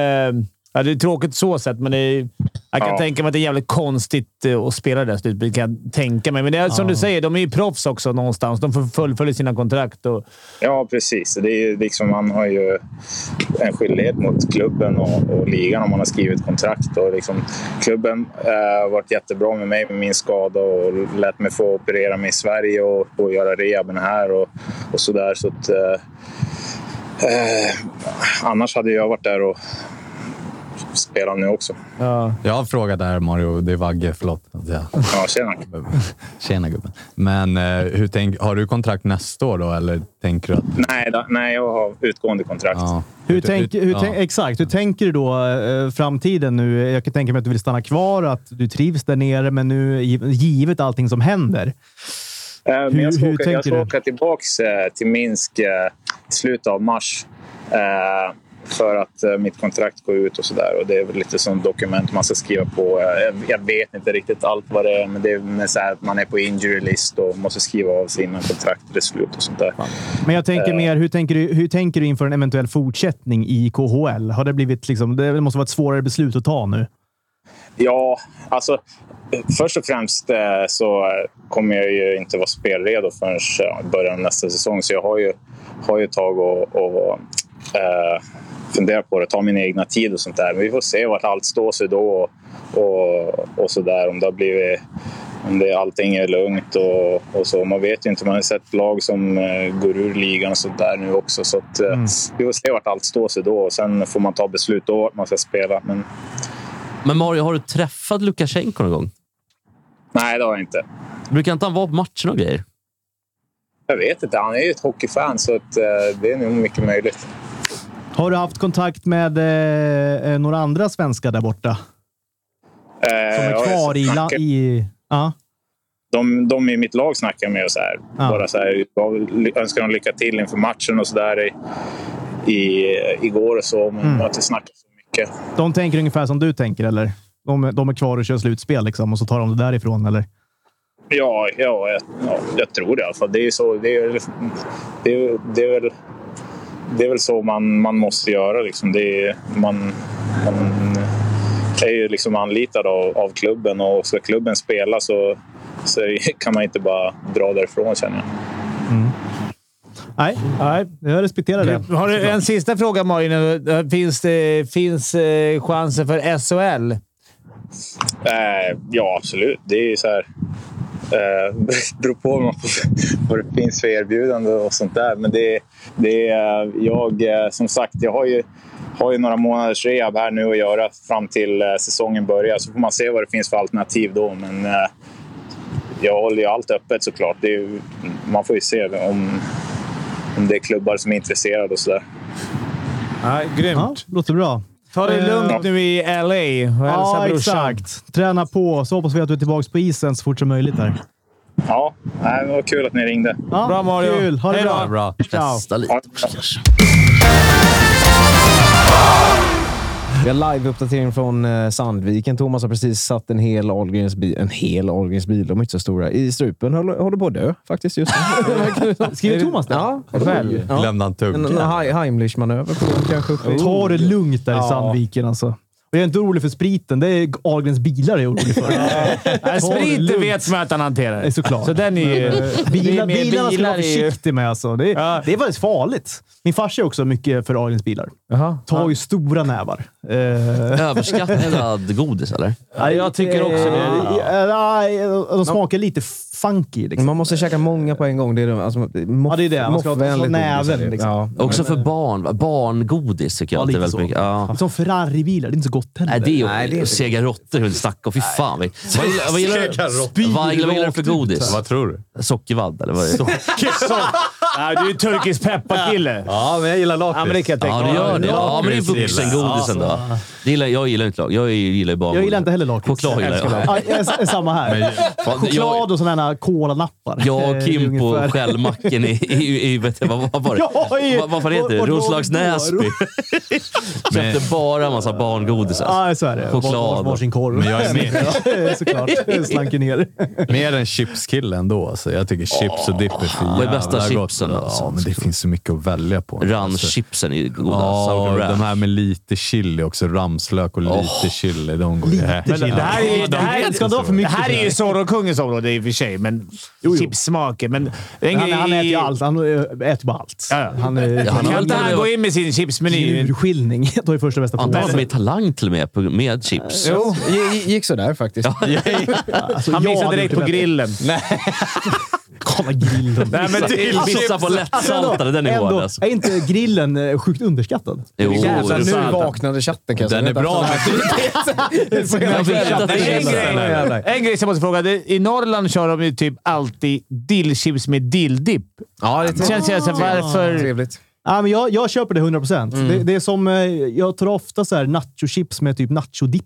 S5: Ja, det är tråkigt så sett, men det är, jag kan
S7: Ja.
S5: tänka mig att det är jävligt konstigt eh, att spela det där slutspelet. kan jag tänka mig. Men det är som du säger, de är ju proffs också någonstans. De får- fullföljer sina kontrakt. Och,
S7: Ja, precis. Det är ju liksom, man har ju en skyldighet mot klubben och, och ligan om man har skrivit kontrakt. Och liksom, klubben eh, har varit jättebra med mig med min skada och lät mig få operera mig i Sverige och, och göra rehaben här och, och sådär. Så att, eh, eh, annars hade jag varit där och spelat nu också.
S5: ja.
S3: Jag har en fråga där, Mario. Det är Vagge. Förlåt. Ja.
S7: Ja, tjena.
S3: Tjena gubben. Men eh, hur tänk, har du kontrakt nästa år då, eller tänker du att...
S7: Nej, då, nej, jag har utgående kontrakt.
S3: Ja.
S1: Hur tänk, hur
S3: ja.
S1: tänk, exakt. Hur tänker du då eh, framtiden nu? Jag kan tänka mig att du vill stanna kvar, att du trivs där nere, men nu giv- givet allting som händer.
S7: Eh, Men jag ska
S1: Hur- hur
S7: åka, jag
S1: tänker
S7: ska
S1: du?
S7: åka tillbaka till Minsk eh, i slutet av mars eh, för att eh, mitt kontrakt går ut och sådär. Och det är väl lite som dokument man ska skriva på. Eh, Jag, jag vet inte riktigt allt vad det är, men det är med så här att man är på injury list och måste skriva av sig innan kontraktet är slut och sånt där.
S1: Men jag tänker mer, hur tänker, du, hur tänker du inför en eventuell fortsättning i KHL? Har det blivit liksom, det måste vara ett svårare beslut att ta nu.
S7: Ja, alltså eh, först och främst eh, så eh, kommer jag ju inte vara spelredo förrän eh, början av nästa säsong. Så jag har ju, har ju ett tag att och, eh, fundera på det, ta min egna tid och sånt där. Men vi får se vart allt står sig då och, och, och så där. Om det har blivit om det, allting är lugnt och, och så. Man vet ju inte. Man har sett lag som eh, går ur ligan och sånt där nu också. Så att, eh, vi får se vart allt står sig då. Och sen får man ta beslut då vart man ska spela. Men
S4: Men Mario, har du träffat Lukasjenko någon gång?
S7: nej, det har jag inte.
S4: Brukar inte han vara på matcherna och grejer?
S7: Jag vet inte. Han är ju ett hockeyfan, så att, eh, det är nog mycket möjligt.
S1: Har du haft kontakt med eh, eh, några andra svenskar där borta?
S7: Eh,
S1: Som är
S7: ja,
S1: kvar
S7: jag
S1: i... La,
S7: snackar-
S1: i ja.
S7: de, de i mitt lag snackar med och så här.
S1: Ja.
S7: Bara så här, jag önskar dem lycka till inför matchen och så där i, i, igår och så. Men
S1: Mm.
S7: jag har inte snackat så mycket.
S1: De tänker ungefär som du tänker, eller? De, de är kvar och kör slutspel liksom, och så tar de det därifrån, eller?
S7: Ja, ja, jag, ja, jag tror det i alla fall. Det är ju så. Det är, det är, det är väl... Det är väl så man, man måste göra. Liksom. Det är, man, man är ju liksom anlitad av, av klubben och ska klubben spela så, så kan man inte bara dra därifrån känner jag.
S1: Nej, nej jag respekterar det.
S5: Har du en eh, sista fråga, Malin? Finns, det, finns eh, chansen för SHL?
S7: Eh, ja, absolut. Det är ju så här... Eh, beror på vad, man får- vad det finns för erbjudande och sånt där. Men det, det är, eh, jag, eh, som sagt, jag har ju, har ju några månaders rehab här nu att göra fram till eh, säsongen börjar. Så får man se vad det finns för alternativ då. Men eh, jag håller ju allt öppet såklart. Det är, ju- man får ju se om, om det är klubbar som är intresserade och sådär.
S5: Nej, grymt.
S1: Ja, låter bra.
S5: Ta det lugnt nu i LA och hälsa
S1: Ja,
S5: brorsan.
S1: exakt. Träna på, så hoppas vi att du är tillbaka på isen så fort som möjligt. Där.
S7: Ja, nej, det var kul att ni ringde.
S1: Ja,
S5: Bra, Mario.
S1: Kul. Ha det
S5: Hej
S1: bra.
S3: Ja,
S5: då.
S3: bra.
S1: Ciao.
S4: Testa lite också kanske.
S6: Vi har live-uppdatering från eh, Sandviken. Thomas har precis satt en hel Ahlgrens bil, en hel Ahlgrens bil, de är inte så stora, i strupen. Håller, håller på att dö faktiskt just nu.
S1: Skriver Thomas det?
S6: Ja, själv. Ja.
S3: Glömde han
S6: En, en
S3: tugg.
S6: Hei- Heimlich-manöver på den kanske. uppe i-
S1: Ta det lugnt där i
S5: Oh. Ja.
S1: Sandviken alltså. Och jag är inte orolig för spriten. Det är Ahlgrens bilar jag är orolig för.
S5: Nej,
S1: Ta det
S5: Spriten
S1: lugnt.
S5: Äh, vet man att han hanterar.
S1: Nej, såklart. eh,
S5: Så den är ju... det är
S1: Bilar,
S5: mer
S1: bilarna ska man vara
S5: är ju-
S1: försiktig med. Alltså. Det, är,
S5: Ja.
S1: det är faktiskt farligt. Min farsa är också mycket för Ahlgrens bilar. Tar ju stora nävar. Eh,
S4: Överskattad godis, eller?
S5: Ja, jag tycker också det.
S1: eh, nej, de smakar lite funky. Liksom.
S6: Man måste käka många på en gång. Det är, de- alltså, moff,
S1: Ja, det är det. Man ska ha-
S6: moffvänligt
S1: slå näven,
S6: ordentligt.
S1: liksom.
S6: Ja.
S4: Också för barn. va? Barngodis tycker jag
S1: Ja,
S4: alltid
S1: lite
S4: väldigt
S1: så.
S4: mycket. Ja.
S1: Som Ferrari-bilar. Det är inte så gott heller.
S4: Nej, det är ju
S6: det är inte
S4: sega råttor. vill inte snacka om. Fy fan. Vad, vad, vad gillar du?
S3: Spyr
S4: Vad gillar vad gillar du
S3: rakt
S4: för
S3: ut.
S4: godis?
S3: Vad tror du?
S4: Sockervadd, eller vad är det?
S5: Ja, du är turkisk pepparkille.
S3: Ja, men jag gillar lakrits.
S5: Ja, men det kan jag tänka
S4: Ja, det
S5: mig.
S4: gör det. Ja, men det är
S3: lakrits gillar
S4: vuxengodis
S3: jag.
S4: ändå. Det gillar, jag gillar inte lag. Jag gillar ju bara
S1: Jag gillar inte heller lakrits.
S4: Choklad gillar jag.
S1: Ja, jag är samma här.
S4: Fan,
S1: Choklad
S4: jag-
S1: och sådana här kolanappar.
S4: Jag och
S1: Det är
S4: Kim på
S1: ungefär-
S4: Shellmacken i, i, i vet du, vad, vad var det?
S1: Ja, i-
S4: vad, vad fan heter det?
S1: och- och-
S4: Roslags Näsby. Köpte bara en massa barngodis. alltså.
S1: Ja, så är det.
S4: Choklad.
S1: Vars- Varsin korv.
S3: Men jag är med.
S1: Ja, Såklart. Jag slank ner.
S3: Mer en chipskille ändå. Alltså. Jag tycker chips och dipp är för
S4: Vad är
S3: jävla
S4: bästa
S3: gott.
S4: chipsen, alltså?
S3: Ja, men det finns så mycket att välja på. Alltså,
S4: Ranchchipsen är ju goda.
S3: Ja,
S4: Sour
S3: och
S4: alltså, Ranch.
S3: de här med lite chili också. Ramslök och lite chili. De går lite
S5: Men det här är ju... Det här
S1: Ska inte ha för
S5: är, det
S1: mycket
S5: här är ju
S1: sådär.
S5: Zorro-kungens område i och för sig, men chipssmaker. Men en
S1: Han,
S5: grej-
S1: han äter ju allt. Han eh, äter bara allt.
S5: Ja, ja.
S1: Han eh, är
S4: han
S5: Kan inte han gå in med sin chipsmeny?
S1: njurskiljning. Tar ju första bästa
S4: Har inte han
S1: påsen.
S4: med Talang till och med, på- med chips?
S6: Jo, g- gick sådär faktiskt.
S1: Alltså,
S5: Han
S1: jag
S5: missar
S1: hade
S5: direkt på
S1: gjort det bättre.
S5: grillen.
S1: Kolla grillen. Alltså,
S5: Nej, men det är
S4: Pizza på lättsaltade, den är hård
S1: Ändå,
S4: alltså.
S1: är inte grillen eh, sjukt underskattad?
S4: Jo,
S5: jävla
S4: det är
S5: nu
S4: sant.
S6: Vaknade chatten kanske.
S3: Den är bra,
S4: Jag vet att det är
S5: En
S4: sant.
S5: grej, en grej som jag måste fråga. Det- I Norrland kör de ju typ alltid dillchips med dilldipp.
S6: Ja, det är
S5: Känns jag så här, varför...
S6: trevligt.
S1: Ja, men jag, jag köper det 100 procent. Det, det är som, eh, jag tar ofta så här nachochips med typ nachodipp.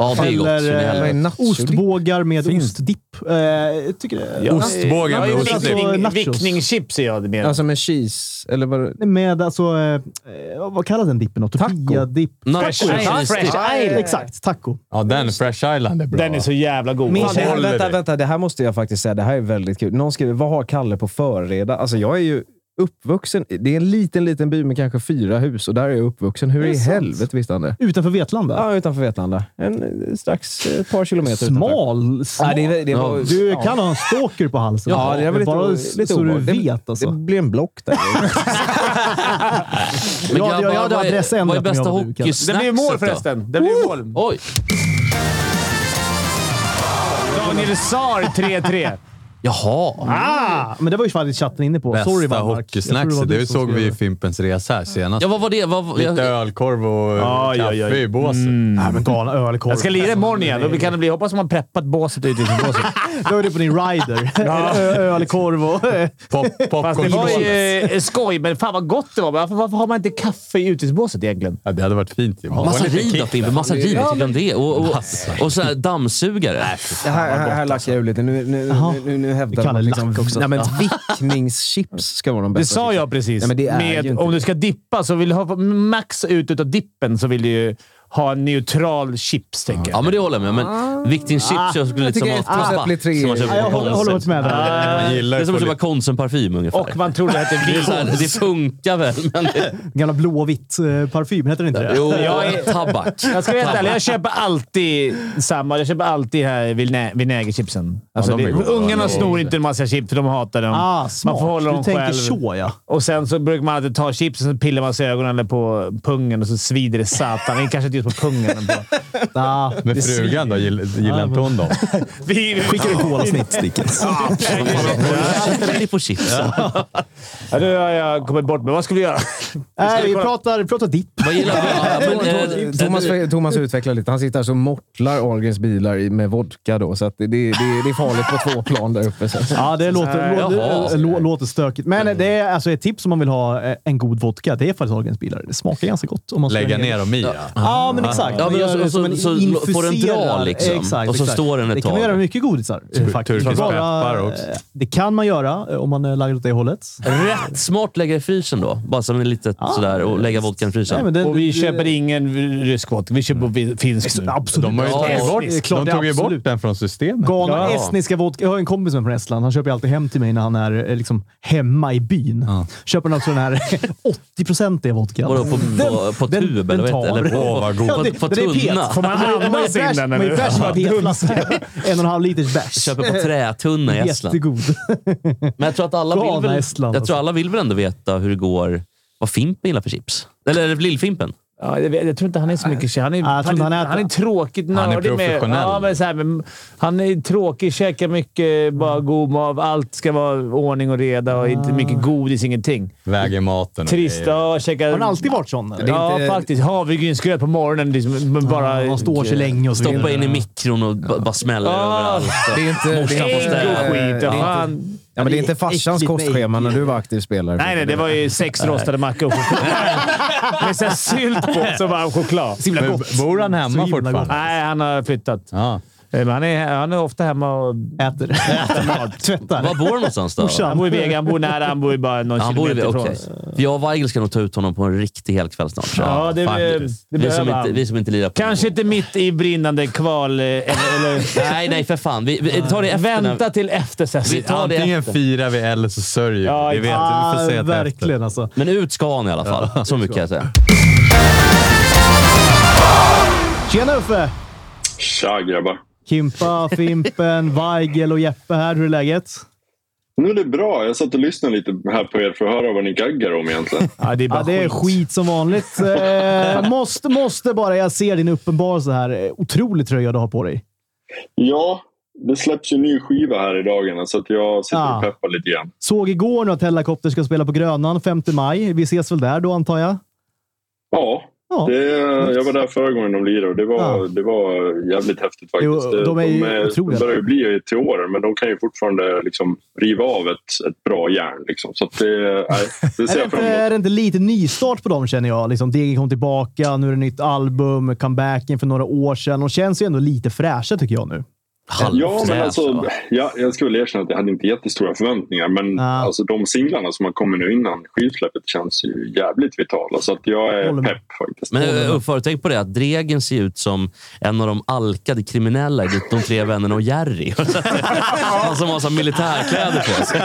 S4: Ja, det är gott. så det
S1: Eller
S4: är-
S6: Vad är
S1: eh,
S6: nachodipp?
S1: ostbågar med ostdipp. Eh, jag tycker det.
S3: Ostbågar med
S5: Ja,
S1: ost.
S3: ostdipp.
S5: vickning-
S1: Nachos.
S5: Vickningschips är jag mer.
S6: Alltså med cheese, eller vad...
S1: Med alltså, eh, eh, vad kallas den dippen? då? Tortilladipp?
S4: Nacho
S5: Fresh
S4: cheese
S5: Fresh
S4: dip.
S5: Island.
S1: Exakt, taco.
S3: Ja, den Fresh Island är bra.
S5: Den är så jävla god.
S6: Fan, det här,
S3: håller
S6: vänta,
S3: dig.
S6: vänta. Det här måste jag faktiskt säga. Det här är väldigt kul. Någon skriver, vad har Kalle på förreda? Alltså jag är ju uppvuxen... Det är en liten, liten by med kanske fyra hus och där är jag uppvuxen. Hur i helvete visste han det?
S1: Utanför Vetlanda.
S6: Ja, utanför Vetlanda. En, eh, strax ett par kilometer utanför.
S1: Smal. smal.
S6: Nej, det, är- det var,
S4: Ja.
S1: Du kan ha en stalker på halsen.
S6: Ja, det är väl lite,
S1: Bara
S6: o-
S1: så,
S6: lite
S1: så du
S6: obehagligt.
S1: vet
S6: det,
S1: alltså.
S6: det blir en block där.
S4: Men
S1: Ja, jag- jag
S4: grabbar,
S1: hade
S4: vad är-
S1: adress ändrat
S4: Vad är
S1: om jag
S4: bästa
S1: var du, Kalle.
S4: hockeysnackset
S5: Det blir mål
S4: då?
S5: förresten. Det blir mål.
S4: Oj!
S5: Daniel Saar 3-3.
S4: Jaha!
S1: Ah, men det var ju faktiskt chatten inne på.
S3: Bästa
S1: Sorry, Wallmark. Jag tror var
S3: hockeysnackset.
S1: du
S3: Det
S1: som
S3: såg vi
S1: skrev
S3: i
S1: det.
S3: Fimpens Resa här senast.
S4: Ja, vad var det? Vad, var-
S3: Lite
S4: jag,
S3: ölkorv och
S5: Aj,
S3: kaffe
S5: aj, aj.
S3: i båset.
S5: Mm.
S1: Nej, Ah, men galna ölkorv.
S5: Jag ska lira imorgon igen. Då kan det bli... Hoppas man har preppat båset och utvisningsbåset.
S1: Då är det på din rider. Ö- Ölkorv och...
S3: Pop,
S5: Fast det
S3: popcorn i
S5: var ju
S3: båset.
S5: eh, skoj, men fan vad gott det var. Varför, varför har man inte kaffe i utvisningsbåset egentligen?
S3: Ja, det hade varit fint ju.
S4: massa
S3: Och lite
S4: riv då,
S3: kick.
S4: Fimpen. Massa riv. Jag tycker om det. Och, och, och så här dammsugare.
S6: Det här, här, här lackar jag ur lite. Nu, nu, nu, nu, nu hävdar
S1: Kalle
S6: man liksom...
S1: lack också.
S6: Nej, men vickningschips ska vara de bästa.
S5: Det sa jag precis.
S6: Nej, men det är ju
S5: med,
S6: inte
S5: om
S6: det.
S5: du ska dippa, så vill du ha max ut utav dippen så vill du ju ha en neutral chips, tänker
S4: Ja,
S5: jag.
S4: men det håller jag med om. Men Viktingchips, jag skulle liksom
S6: tycker
S4: ha
S6: ett plus ett blir tre.
S4: som man köper på
S1: jag håller, håller
S4: Konsum.
S1: faktiskt med där.
S3: Man
S4: Det
S3: gillar
S4: är som att
S3: ju
S4: köpa Konsumparfym ungefär.
S5: Och man tror det heter
S4: det, är så
S5: vin.
S4: här, det funkar väl, men...
S1: Gamla blåvitt-parfym, eh, heter den inte det?
S4: Jo,
S5: Jag är-
S4: tabak.
S5: Jag ska veta ärlig, jag köper alltid samma. Jag köper alltid här vinä- vinägerchipsen. Alltså,
S3: Ja, de är
S5: det-
S3: goda.
S5: ungarna
S3: Ja,
S5: snor inte en massa chips, för de hatar dem.
S1: Ah, smart.
S5: Man får hålla
S1: du
S5: dem
S1: tänker
S5: själv.
S1: så, ja.
S5: Och sen så brukar man alltid ta chipsen, så pillar man sig i ögonen eller på pungen och så svider det satan. Det kanske inte ut på pungen. ändå.
S1: Ah,
S3: Men frugan då? Gillar, gillar inte hon dem?
S5: Vi-
S1: skickar en kolasnitt, Stickens.
S4: Det på chipsen.
S5: Ja, nu har jag kommit bort men Vad skulle vi göra?
S1: Nej, vi pratar, vi pratar dipp.
S4: Vad gillar du? Ja, men, eh,
S6: Thomas,
S4: du-
S6: Thomas utvecklar lite. Han sitter här och mortlar Ahlgrens bilar i- med vodka. Då, så att det, det, det är farligt på två plan där uppe. Så. att-
S1: Ja, det låter,
S4: jaha.
S1: låter, lå- låter stökigt. Men det är alltså ett tips om man vill ha eh, en god vodka. Det är faktiskt Ahlgrens bilar. Det smakar ganska gott. Om man
S3: Lägga
S1: slänger
S3: ner dem i, ja.
S1: Ja, men exakt.
S4: Ja,
S1: Man
S4: men
S1: gör
S4: och så-
S1: det
S4: och så-
S1: som en
S4: så
S1: infuserad-
S4: får den dra liksom.
S1: Exakt,
S4: Och så
S1: exakt.
S4: står den ett
S1: Det kan man
S4: tag.
S1: göra med mycket godisar. eh,
S3: Tur-
S1: faktiskt.
S3: turkisk
S1: Bara,
S3: peppar
S1: eh,
S3: också.
S1: Det kan man göra eh, om man är lagd åt det hållet.
S4: Rätt smart lägga i frysen då. Bara som en litet
S1: Ah,
S4: sådär och lägga vodkan i
S1: Nej,
S4: frysen.
S1: men eh, det-
S5: Och vi
S1: det-
S5: köper ingen rysk vodka. Vi köper vi- finsk nu.
S1: Absolut.
S3: De har ju
S1: Ja,
S3: tagit
S1: det är
S3: bort-
S1: klart,
S3: De tog ju
S1: absolut.
S3: bort den från systemet.
S1: Ghana,
S4: Ja.
S1: estniska vodka. Jag har en kompis som är från Estland. Han köper ju alltid hem till mig när han är eh, liksom, hemma i byn. Köper han också den här 80-procentiga vodkan.
S4: Vadå, på- på- på tub, eller vad heter det? Eller på-
S1: Ja,
S4: vad god.
S1: det-
S4: På- på
S1: den är pet.
S4: tunna.
S1: Får man
S5: andas in den,
S1: Man
S5: eller?
S1: är bärs med petflaska. En och en halv liters bärs.
S4: Köper på trätunna i Estland.
S1: Jättegod.
S4: Men jag tror att alla vill,
S1: Galna
S4: väl,
S1: Estland,
S4: jag tror
S1: alltså.
S4: alla vill väl ändå veta hur det går, vad Fimpen gillar för chips. Eller Lillfimpen.
S5: Ja, jag, vet- jag tror inte han är så mycket tjej. Han är,
S1: jag tror
S5: han,
S1: inte
S5: han,
S1: han
S5: är,
S1: äter.
S5: tråkigt
S3: är
S5: nördig. Med,
S3: professionell.
S5: ja, men så här, men, han är tråkig, käkar mycket
S1: Mm.
S5: bara god mat. Allt ska vara ordning och reda och
S1: Ah.
S5: inte mycket godis, ingenting.
S3: Väger maten och
S5: Trist.
S3: grejer.
S5: Ja, käkar,
S1: Har den alltid varit sån? Eller?
S5: Ja,
S6: inte-
S5: faktiskt. Havregrynsgröt på morgonen. Liksom, men bara...
S1: Han står sig länge och så
S4: Stoppa
S1: vidare.
S4: in i mikron och b- bara smäller
S5: Ah.
S4: överallt.
S6: Det är inte, det
S4: Morsan
S6: är
S4: får
S6: inte,
S4: städa.
S5: Ägg och skit. Ja,
S6: det är inte,
S5: fan.
S6: ja, men det är inte farsans
S1: Äckligt med
S6: kostschema när du var aktiv spelare.
S5: Nej, nej. Det var ju sex rostade mackor. Med så här sylt på som varm choklad.
S1: Så himla
S3: Men
S1: gott.
S3: bor han hemma
S1: Så himla
S3: fortfarande?
S5: Nej, han har flyttat.
S3: Ja.
S5: Eh, Men han, är, han är ofta hemma och...
S1: Äter. Tvättar.
S4: Var bor han någonstans då?
S1: Morsan.
S5: Han bor i Vega. Han bor nära. Han bor ju bara någon
S4: Ja, Han bor i
S5: kilometer
S4: Okej.
S5: ifrån oss.
S4: För jag och Weigel ska nog ta ut honom på en riktig helkväll snart. tror jag.
S5: Ja, det, det,
S3: faktiskt.
S5: det
S4: vi,
S5: behöver
S4: som
S5: han.
S4: inte, vi som inte lirar på
S5: Kanske inte mitt i brinnande kval. eh, Eller, eller,
S4: Nej, nej för fan. Vi, vi tar det efter. när-
S5: vänta till efter
S4: Vi
S5: säsongen.
S4: tar det
S3: Antingen
S4: efter.
S3: firar vi eller så sörjer vi.
S5: Ja,
S3: vi. Vet, vi får säga
S1: Ah,
S3: det efter.
S1: verkligen alltså.
S4: Men ut ska han i alla fall. Så mycket kan jag säga.
S1: Tjena Uffe!
S8: Tja grabbar.
S1: Kimpa, Fimpen, Weigel och Jeppe här. Hur är läget?
S8: Nu är det bra. Jag satt och lyssnade lite här på er för att höra vad ni gaggar om egentligen.
S5: Ja, det är bara
S1: Ja, det är
S5: skit.
S1: skit som vanligt. Eh, måste, måste bara. Jag ser din uppenbarelse här. Eh, Otrolig tröja du har på dig.
S8: ja, det släpps ju en ny skiva här i dagarna så att jag sitter
S1: Ah.
S8: och peppar lite grann.
S1: Såg igår nu att Hellacopter ska spela på Grönan 5 maj. Vi ses väl där då, antar jag?
S8: Ja,
S1: Ja.
S8: det, jag var där förra gången de lirade och det var,
S1: Ja.
S8: det var jävligt häftigt faktiskt.
S1: Jo, de är ju otroliga.
S8: de eh, börjar ju bli till åren men de kan ju fortfarande liksom riva av ett, ett bra järn. Liksom. Så att det, nej, det
S1: Är
S8: ser
S1: det,
S8: jag fram
S1: inte,
S8: emot.
S1: är det inte lite nystart på dem, känner jag? Liksom, DG kom tillbaka, nu är det nytt album, comebacken för några år sedan. De känns ju ändå lite fräscha, tycker jag nu.
S8: Ja, men
S4: Halvfräsch,
S8: alltså,
S4: va?
S8: jag, jag skulle väl erkänna att jag hade inte jättestora förväntningar. Men
S1: Ah.
S8: alltså, de singlarna som har kommit nu innan skivsläppet känns ju jävligt vitala. Så att jag
S1: Håller
S8: är
S1: med.
S8: pepp faktiskt.
S4: Men eh, Uffe, har du tänkt på det? Att Dregen ser ut som en av de alkade kriminella i De tre vännerna och Jerry. Han som har så här militärkläder på sig.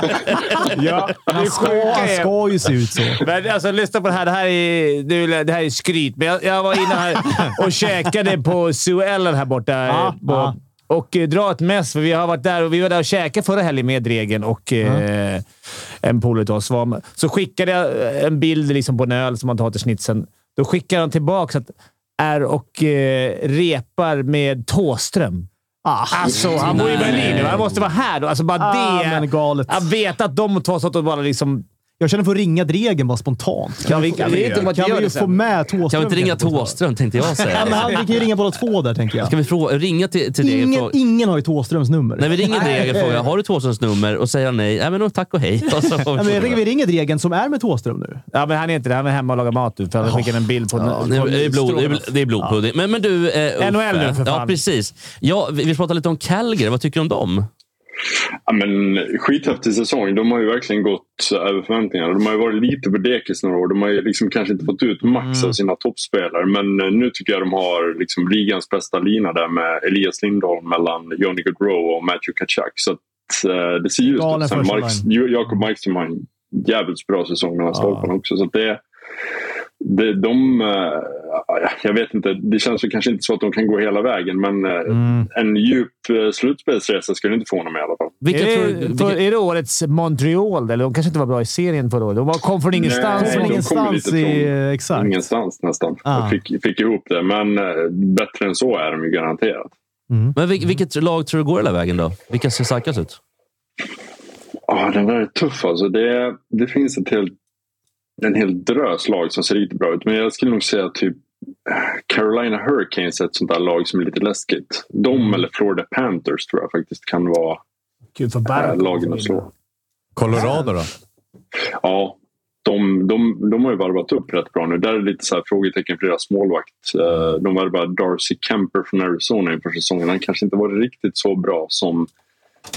S5: Ja,
S1: Han ska, han ska ju se ut så.
S5: Men alltså, lyssna på det här. Det här är, det, det här är skryt, men jag, jag var inne här och käkade på Sue Ellen här borta.
S1: Ja,
S5: eh, på,
S1: ja.
S5: Och eh, dra ett mess, för vi har varit där och vi var där och käkade förra helgen med Dregen och eh, en polare till oss. var- Så skickade jag en bild liksom på en öl som man tar till snitsen. Då skickar han tillbaka att är och eh, repar med Tåström.
S1: Ah,
S5: Alltså, han bor i Berlin nu. Han måste vara här då. Alltså, bara
S1: ah,
S5: det.
S1: men galet.
S5: Att veta att de två satt och bara liksom...
S1: Jag känner för att ringa Dregen bara spontant.
S5: Ja, vi- det är inte-
S1: kan
S5: gör
S1: vi
S5: det
S1: ju
S5: sen.
S1: få med Thåström?
S4: Kan vi inte ringa
S1: kanske på-
S4: Thåström, tänkte jag
S1: Ja, men
S4: säga.
S1: han, vi kan ju ringa båda två där, tänker jag.
S4: Ska vi fråga, ringa till, till Dregen? och
S1: Ingen,
S4: fråga-
S1: ingen har ju Thåströms nummer.
S4: Nej, vi ringer Dregen och frågar har du Thåströms nummer och säger han nej, nej men då tack och hej. Och så får
S1: Ja,
S4: vi
S1: men jag
S4: fråga.
S1: tänker vi ringer Dregen som är med Thåström nu.
S5: Ja, men han är inte det. Han är hemma och lagar mat. nu, För han skickade en bild på...
S4: Ja, det, är- det är blod, det, är, det är blodpudding. Men, men du, eh, Uffe.
S5: NHL nu, för fan.
S4: Ja, precis. Ja, vi, vi pratade lite om Calgary. Vad tycker du om dem?
S8: Ja, men, skithäftig säsong. De har ju verkligen gått över förväntningarna. De har ju varit lite på dekis några år. De har ju liksom kanske inte fått ut max
S1: Mm.
S8: av sina toppspelare. Men eh, nu tycker jag de har liksom ligans bästa lina där med Elias Lindholm mellan Johnny Gaudreau och Matthew Kachak. Så att, eh, det ser ljust
S1: Galen
S8: ut. Sen
S1: första
S8: Marks, Jo- Jakob Markström har en jävligt bra säsong mellan stolparna också. Så att det, de, de, eh, jag vet inte, det känns ju kanske inte så att de kan gå hela vägen men eh,
S1: Mm.
S8: en djup eh, slutspelsresa skulle inte förvåna mig i alla fall.
S4: Vilka
S5: är,
S4: tror
S5: det,
S4: du- vilka-
S5: för, är det årets Montreal? Eller de kanske inte var bra i serien förra året. De var- kom från ingenstans.
S8: Nej,
S1: Från
S8: de kommer
S1: ingenstans
S8: lite
S1: i...
S8: från-
S1: Exakt.
S8: Ingenstans nästan.
S1: Ah.
S8: Jag fick, fick ihop det men eh, bättre än så är de ju garanterat.
S4: Men vil, vilket lag tror du går hela vägen då? Vilka ser starkast ut?
S8: Ja, den där är tuff alltså. Det, det finns ett helt, en hel drös lag som ser riktigt bra ut. Men jag skulle nog säga typ Carolina Hurricanes är ett sånt där lag som är lite läskigt. De eller Florida Panthers tror jag faktiskt kan vara
S5: Kul för
S8: äh,
S5: Barkov.
S8: lagen att slå.
S3: Colorado då?
S8: Ja, de, de, de har ju varvat upp rätt bra nu. Där är det lite så här frågetecken för deras målvakt. Eh, De värvade Darcy Kemper från Arizona inför säsongen. Han kanske inte var riktigt så bra som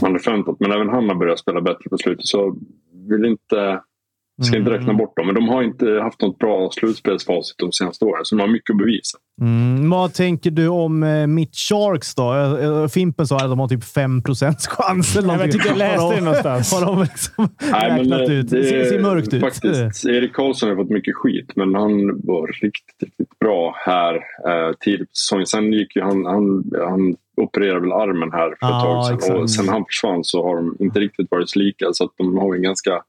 S8: man hade förväntat. Men även han har börjat spela bättre på slutet. Så vill inte... Ska inte räkna bort dem, men de har inte haft något bra slutspelsfacit de senaste åren. Så de har mycket att bevisa.
S1: Mm. Vad tänker du om eh, mitt Sharks då? Eh, eh, Fimpen sa att de har typ 5 chans eller
S5: men jag
S1: någonting.
S5: tyckte jag läste
S1: Har de-
S5: det någonstans.
S1: Har de liksom
S8: Nej, men,
S1: räknat
S8: eh,
S1: ut? Det ser, ser mörkt ut. Eh,
S8: Faktiskt, Erik Karlsson har fått mycket skit, men han var riktigt, riktigt bra här eh, tidigt på säsongen. Sen gick ju han, han, han opererade väl armen här för ett
S1: Ja,
S8: tag sedan.
S1: Ah, exakt.
S8: Och sen han försvann så har de inte riktigt varit lika. Så att de har ju en ganska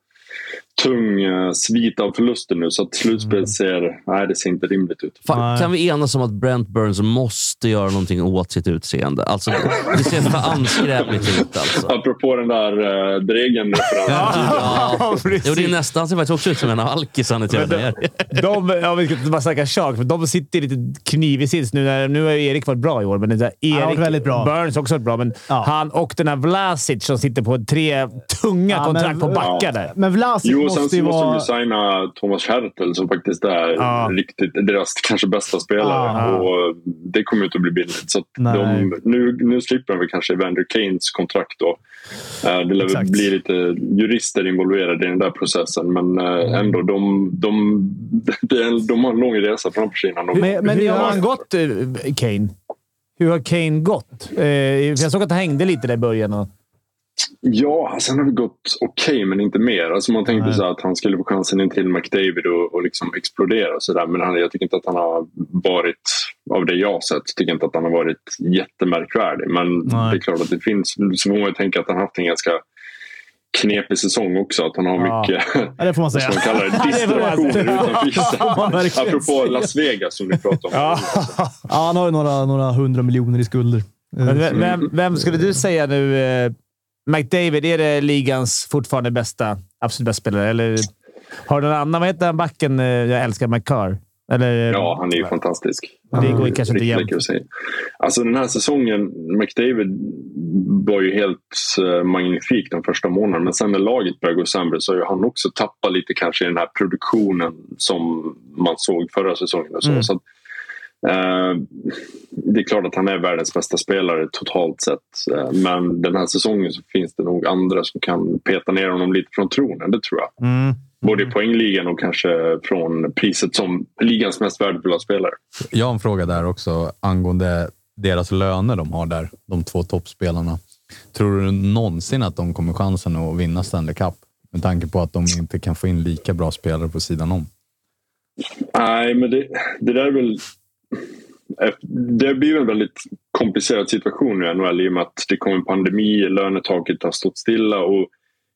S8: tung eh, svit av förluster nu. Så att
S1: Mm.
S8: slutspel ser, nej, det ser inte rimligt ut.
S4: Fan,
S1: Nej.
S4: kan vi enas om att Brent Burns måste göra någonting åt sitt utseende? Alltså, det ser fan skräpligt ut alltså.
S8: Apropå den där eh, Dregen-referensen.
S4: Ja.
S5: precis.
S4: Jo, det är nästan. Han ser faktiskt också ut som en av alkisarna till höger.
S5: De, ja, vi ska inte bara snacka Sharks, för de sitter lite knivig sits nu. När, nu har ju Erik varit bra i år, men det där
S1: har varit
S5: Erik
S1: väldigt bra.
S5: Burns också varit bra. Men
S1: Ja.
S5: han och den här Vlasic som sitter på tre tunga
S1: Ja,
S5: kontrakt
S1: men-
S5: på backar där.
S1: Men Vlasic
S8: Jo, och sen
S1: måste ju
S8: så måste de
S1: vara...
S8: ju signa Thomas Hertel som faktiskt är
S5: Ja.
S8: riktigt, deras kanske bästa spelare.
S5: Ja.
S8: Och det kommer ju inte att bli billigt. Så att
S1: Nej.
S8: de, nu, nu slipper de väl kanske Vander Keynes kontrakt då. Eh, Det lär väl
S1: Exakt.
S8: bli lite jurister involverade i den där processen. Men eh, ändå, de, de, de, de har en lång resa framför sig innan de...
S5: Men, men hur har han gått, eh, Kane? Hur har Kane gått? Eh, för jag såg att han hängde lite där i början. Och,
S8: Ja, sen har det gått okej, men inte mer. Alltså man tänkte så här att han skulle få chansen in till McDavid och, och liksom explodera. Och så där. Men han, jag tycker inte att han har varit, av det jag har sett, tycker inte att han har varit jättemärkvärdig. Men
S1: Nej.
S8: det är klart att det finns, så får man ju tänka att han har haft en ganska knepig säsong också. Att han har
S5: Ja.
S8: mycket
S1: Ja, det får man
S8: vad
S1: säga.
S8: ska man kallar det, distraktioner utanför
S1: man
S8: isen.
S1: verkligen
S8: Apropå
S1: säga.
S8: Las Vegas som ni pratade om.
S1: Ja, han har ju några, några hundra miljoner i skulder. Eh,
S5: Men vem, vem, vem skulle du säga nu? Eh, McDavid, är det ligans fortfarande bästa, absolut bästa spelare? Eller har du någon annan? Vad heter den backen? eh, Jag älskar McCarr. Eller, eh,
S8: Ja, han är ju fantastisk.
S5: Det går ju kanske inte
S8: Riktigt
S5: jämnt.
S8: läcker att säga. Alltså den här säsongen, McDavid var ju helt eh, magnifik de första månaderna. Men sen när laget började gå sämre så har ju han också tappat lite kanske i den här produktionen som man såg förra säsongen. Och så.
S5: Mm.
S8: så att, eh, det är klart att han är världens bästa spelare totalt sett. Eh, men den här säsongen så finns det nog andra som kan peta ner honom lite från tronen. Det tror jag.
S1: Mm.
S8: Både i poängligan och kanske från priset som ligans mest värdefulla spelare.
S3: Jag har en fråga där också angående deras löner de har där, de två toppspelarna. Tror du någonsin att de kommer chansen att vinna Stanley Cup? Med tanke på att de inte kan få in lika bra spelare på sidan om.
S8: Nej, men det, det där är väl... Det blir väl en väldigt komplicerad situation nu i NHL i och med att det kom en pandemi, lönetaket har stått stilla och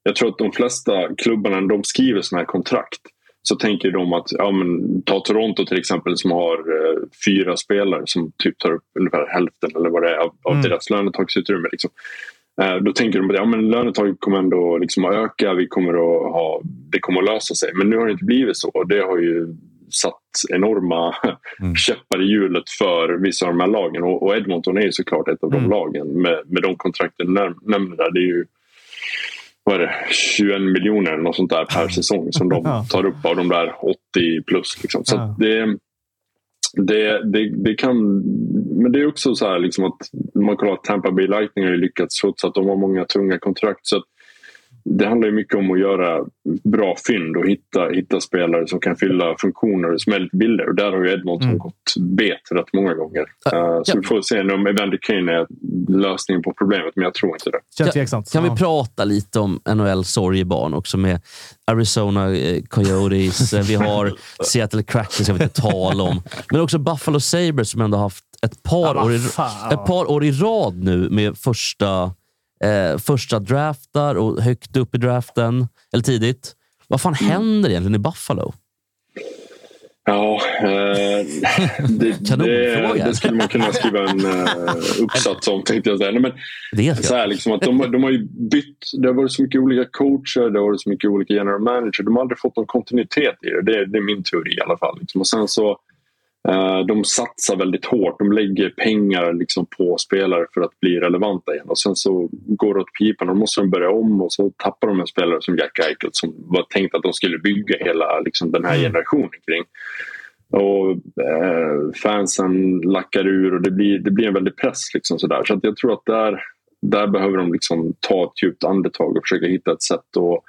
S8: jag tror att de flesta klubbarna när de skriver sådana här kontrakt så tänker de att, ja, men, ta Toronto till exempel som har eh, fyra spelare som typ tar upp ungefär hälften eller vad det är av, av deras lönetaksutrymme. Liksom. Eh, Då tänker de att ja, men lönetaget kommer ändå liksom att öka, vi kommer att ha, det kommer att lösa sig. Men nu har det inte blivit så och det har ju satt enorma
S1: Mm.
S8: käppar i hjulet för vissa av de här lagen. Och och Edmonton är ju såklart ett
S1: Mm.
S8: av de lagen med, med de kontrakten du näm- nämnde där. Det är ju vad är det, 21 miljoner eller något sånt där per säsong som de
S1: Ja.
S8: tar upp av de där 80 plus. Liksom. Så
S1: Ja.
S8: att det, det, det, det kan... Men det är också så här liksom att om man kollar att Tampa Bay Lightning har ju lyckats trots att de har många tunga kontrakt. Så att det handlar ju mycket om att göra bra fynd och hitta, hitta spelare som kan fylla funktioner som är lite billigare. Och där har ju Edmonton gått bet rätt många gånger. Eh, Så
S4: Mm. ja.
S8: vi får se om Evander Kane är lösningen på problemet, men jag tror inte det.
S1: Känns
S4: Kan-
S1: tveksamt.
S4: Kan vi
S1: Ja.
S4: prata lite om NHL sorgebarn också med Arizona eh, Coyotes, eh, vi har Seattle Kraken som vi inte tal om. Men också Buffalo Sabres som ändå har haft ett par, år, i, ett par år i rad nu med första, eh, första draftar och högt upp i draften, eller tidigt. Vad fan
S1: Mm.
S4: händer egentligen i Buffalo?
S8: Ja, eh, det, det,
S4: Kanonfråga.
S8: det skulle man kunna skriva en eh, uppsats om tänkte jag säga. Nej, men
S4: Det är
S8: så
S4: jag.
S8: här, liksom, att de, de har ju bytt. Det har varit så mycket olika coacher, det har varit så mycket olika general manager. De har aldrig fått någon kontinuitet i det. Det, är- det är min teori i alla fall. Liksom. Och sen så, eh, de satsar väldigt hårt. De lägger pengar liksom, på spelare för att bli relevanta igen. Och sen så går det åt pipan. Då måste de börja om och så tappar de en spelare som Jack Eichel som var tänkt att de skulle bygga hela liksom, den här generationen kring. Och eh, fansen lackar ur och det blir, det blir en väldig press. Liksom sådär. Så att jag tror att där, där behöver de liksom ta ett djupt andetag och försöka hitta ett sätt att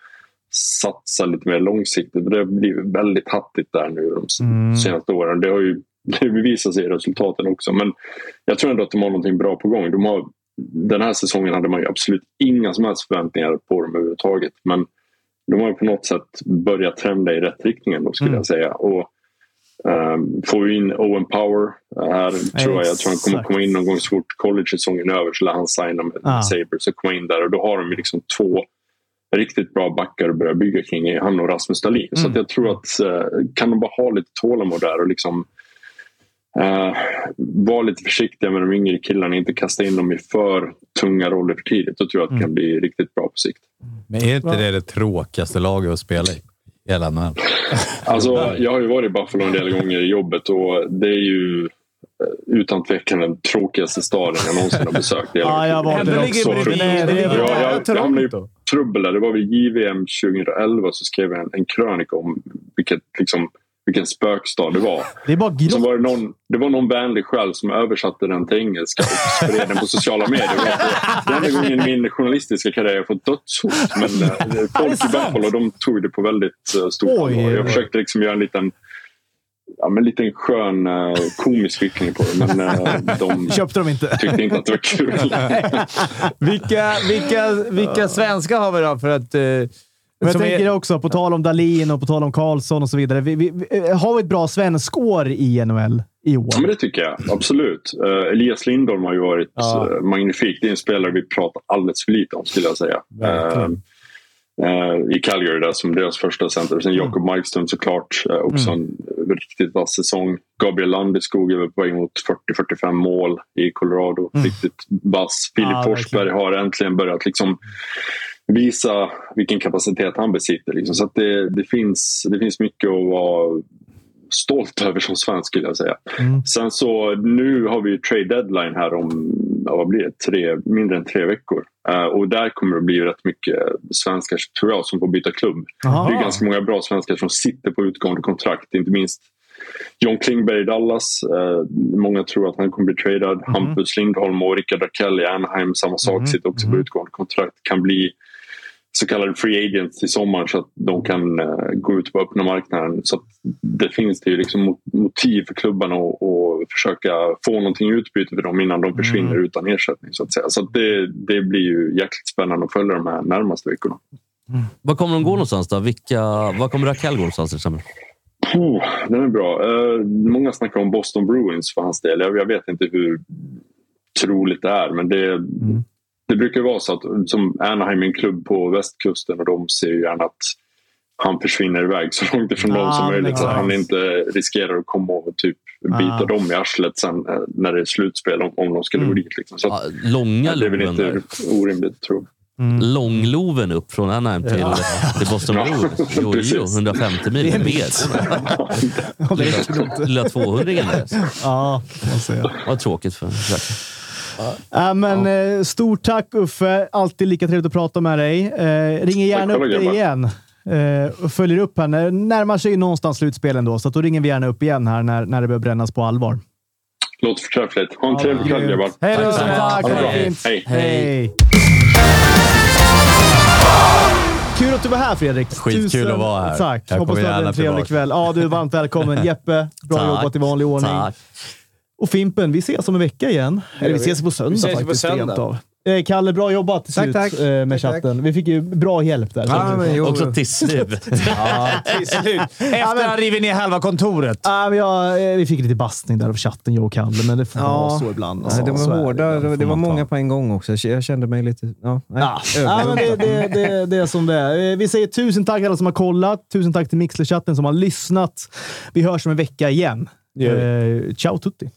S8: satsa lite mer långsiktigt. Det har blivit väldigt hattigt där nu de s-
S1: Mm.
S8: senaste åren. Det har ju det bevisar sig i resultaten också. Men jag tror ändå att de har någonting bra på gång. De har, den här säsongen hade man ju absolut inga som helst förväntningar på dem överhuvudtaget. Men de har ju på något sätt börjat trenda i rätt riktning ändå, skulle
S1: Mm.
S8: jag säga. Och Um, får vi in Owen Power här tror jag. Jag tror han kommer
S1: Exakt.
S8: komma in någon gång så fort college-säsongen är över. Så lär han signa med
S1: Ah.
S8: Sabres och komma in där. Och då har de ju liksom två riktigt bra backar att börja bygga kring. i Han och Rasmus Dahlin. Så att jag tror att eh, kan de bara ha lite tålamod där och liksom eh, vara lite försiktiga med de yngre killarna. Inte kasta in dem i för tunga roller för tidigt. Då tror jag att det kan bli riktigt bra på sikt.
S3: Men är inte det det tråkigaste laget att spela i? Hela NHL.
S8: Alltså, jag har ju varit i Buffalo en del gånger i jobbet och det är ju eh, utan tvekan den tråkigaste staden jag någonsin har besökt. Det
S1: Ja, jag var
S5: Ändå
S1: där
S5: ligger
S1: också.
S5: i Bredvid-
S1: Nej, det är-
S5: bredvid-
S8: Ja, jag- jag hamnade ju-
S5: Toronto.
S8: trubbel där. Det var vid JVM 2011 så skrev jag en, en krönika om vilket, liksom, vilken spökstad det var.
S1: Det är bara
S8: Så
S1: grått.
S8: var det, någon, det var någon vänlig själ som översatte den till engelska och spred den på sociala medier. Och Det är enda gången i min journalistiska karriär jag fått dödshot. Men eh, folk i Buffalo de tog det på väldigt eh, stort
S1: Oj.
S8: allvar. Jag försökte liksom göra en liten Ja, men en liten skön eh, komisk vickning på det, men eh, de
S1: Köpte de inte.
S8: tyckte inte att det var kul.
S5: Vilka, vilka, vilka svenskar har vi då för att... eh,
S1: Men jag
S5: som
S1: tänker också, på tal om Dalin och på tal om Karlsson och så vidare. Vi, vi, vi- har vi ett bra svenskår i NHL i år?
S8: Ja, men det tycker jag. Absolut. Eh, Elias Lindholm har ju varit
S5: Mm. Ja.
S8: eh, magnifik. Det är en spelare vi pratar alldeles för lite om, skulle jag säga.
S5: Verkligen.
S8: Eh, eh, I Calgary där som deras första center. Sen
S5: Mm.
S8: Jakob Markström såklart. eh, Också en riktigt vass säsong. Gabriel Landeskog är väl på väg mot 40-45 mål i Colorado.
S5: Mm.
S8: Riktigt vass. Filip
S1: Ja,
S8: Forsberg har äntligen börjat liksom visa vilken kapacitet han besitter. Liksom. Så att det, det, finns, det finns mycket att vara stolt över som svensk skulle jag säga.
S1: Mm.
S8: Sen så nu har vi ju trade deadline här om ja, vad blir det, tre, mindre än tre veckor. Eh, och där kommer det bli rätt mycket svenskar tror jag som får byta klubb.
S1: Jaha.
S8: Det är ganska många bra svenskar som sitter på utgående kontrakt. Inte minst John Klingberg i Dallas. Eh, många tror att han kommer bli tradad. Hampus Lindholm och Rickard Rakell i Anaheim, samma sak, sitter också på utgående kontrakt. Kan bli så kallade free agents i sommar så att de kan eh, gå ut på öppna marknaden. Så att det finns det ju liksom mot- motiv för klubbarna att att försöka få någonting i utbyte för dem innan de försvinner utan ersättning. Så att säga. Så att det, det blir ju jäkligt spännande att följa de här närmaste veckorna.
S4: Var kommer de gå någonstans då? Vilka, var kommer Raquel gå någonstans till exempel?
S8: Oh, den är bra. Eh, många snackar om Boston Bruins för hans del. Jag, jag vet inte hur troligt det är, men det, det brukar vara så att som Anaheim är en klubb på västkusten och de ser ju gärna att han försvinner iväg så långt ifrån dem
S1: Ah,
S8: som
S1: men
S8: möjligt så att han
S1: exakt.
S8: inte riskerar att komma och typ bita
S1: Ah.
S8: dem i arslet sen eh, när det är slutspel om, om de skulle gå dit. Liksom. Så att,
S4: Ja, långa
S8: det är väl
S4: loven
S8: inte
S4: Ah, där.
S8: orimligt, tror jag.
S1: Mm.
S4: Långloven upp från Anaheim till, eh, till Boston
S8: Ja,
S4: Bruins. Jo, jo,
S8: precis.
S4: 150 mil med bil.
S1: Ja, det räcker nog.
S4: Lilla 200 där.
S1: Ja, får man säga.
S4: Vad tråkigt för Jack.
S1: Äh, men, eh, stort tack Uffe. Alltid lika trevligt att prata med dig. Eh, ringer gärna
S8: Tack själva,
S1: upp dig
S8: grabbar.
S1: igen. Eh, och följer upp här. När- Närmar sig ju någonstans slutspelen då, så att då ringer vi gärna upp igen här när, när det börjar brännas på allvar.
S8: Låter förträffligt. Ha en trevlig kväll grabbar.
S5: Hej då!
S1: Tack,
S8: Ha det bra.
S1: fint.
S8: Hej.
S1: Hej. att du var här Fredrik.
S3: Skitkul att vara här.
S1: Tack.
S3: Jag
S1: Hoppas
S3: kommer
S1: du hade en
S3: gärna
S1: trevlig
S3: tillbaka.
S1: kväll. Ja, du är varmt välkommen. Jeppe, bra
S4: Tack.
S1: jobbat i vanlig ordning.
S4: Tack.
S1: Och Fimpen, vi ses om en vecka igen. Eller vi ses på söndag
S5: ses ju på
S1: faktiskt.
S5: söndag.
S1: rent av. Eh, Kalle, bra jobbat till
S6: Tack,
S1: slut
S6: tack.
S1: eh, med
S6: Tack, tack.
S1: chatten. Vi fick ju bra hjälp där.
S6: Ja, men jo.
S4: Också tisslud.
S5: Efter han rivit ner halva kontoret.
S1: Ja, men jag, eh, vi fick lite bastning där av chatten, jag och Kalle, men det får
S6: Ja.
S1: vara så ibland.
S6: Nej, det
S1: Så är
S6: var
S1: det.
S6: hårda. Det var, det var många på en gång också. Jag kände mig lite... Ja, nej.
S1: Ja, ja, men det, det, det, det är som det är. Eh, Vi säger tusen tack alla som har kollat. Tusen tack till Mixler-chatten som har lyssnat. Vi hörs om en vecka igen.
S5: Det gör
S1: Eh, Ciao tutti!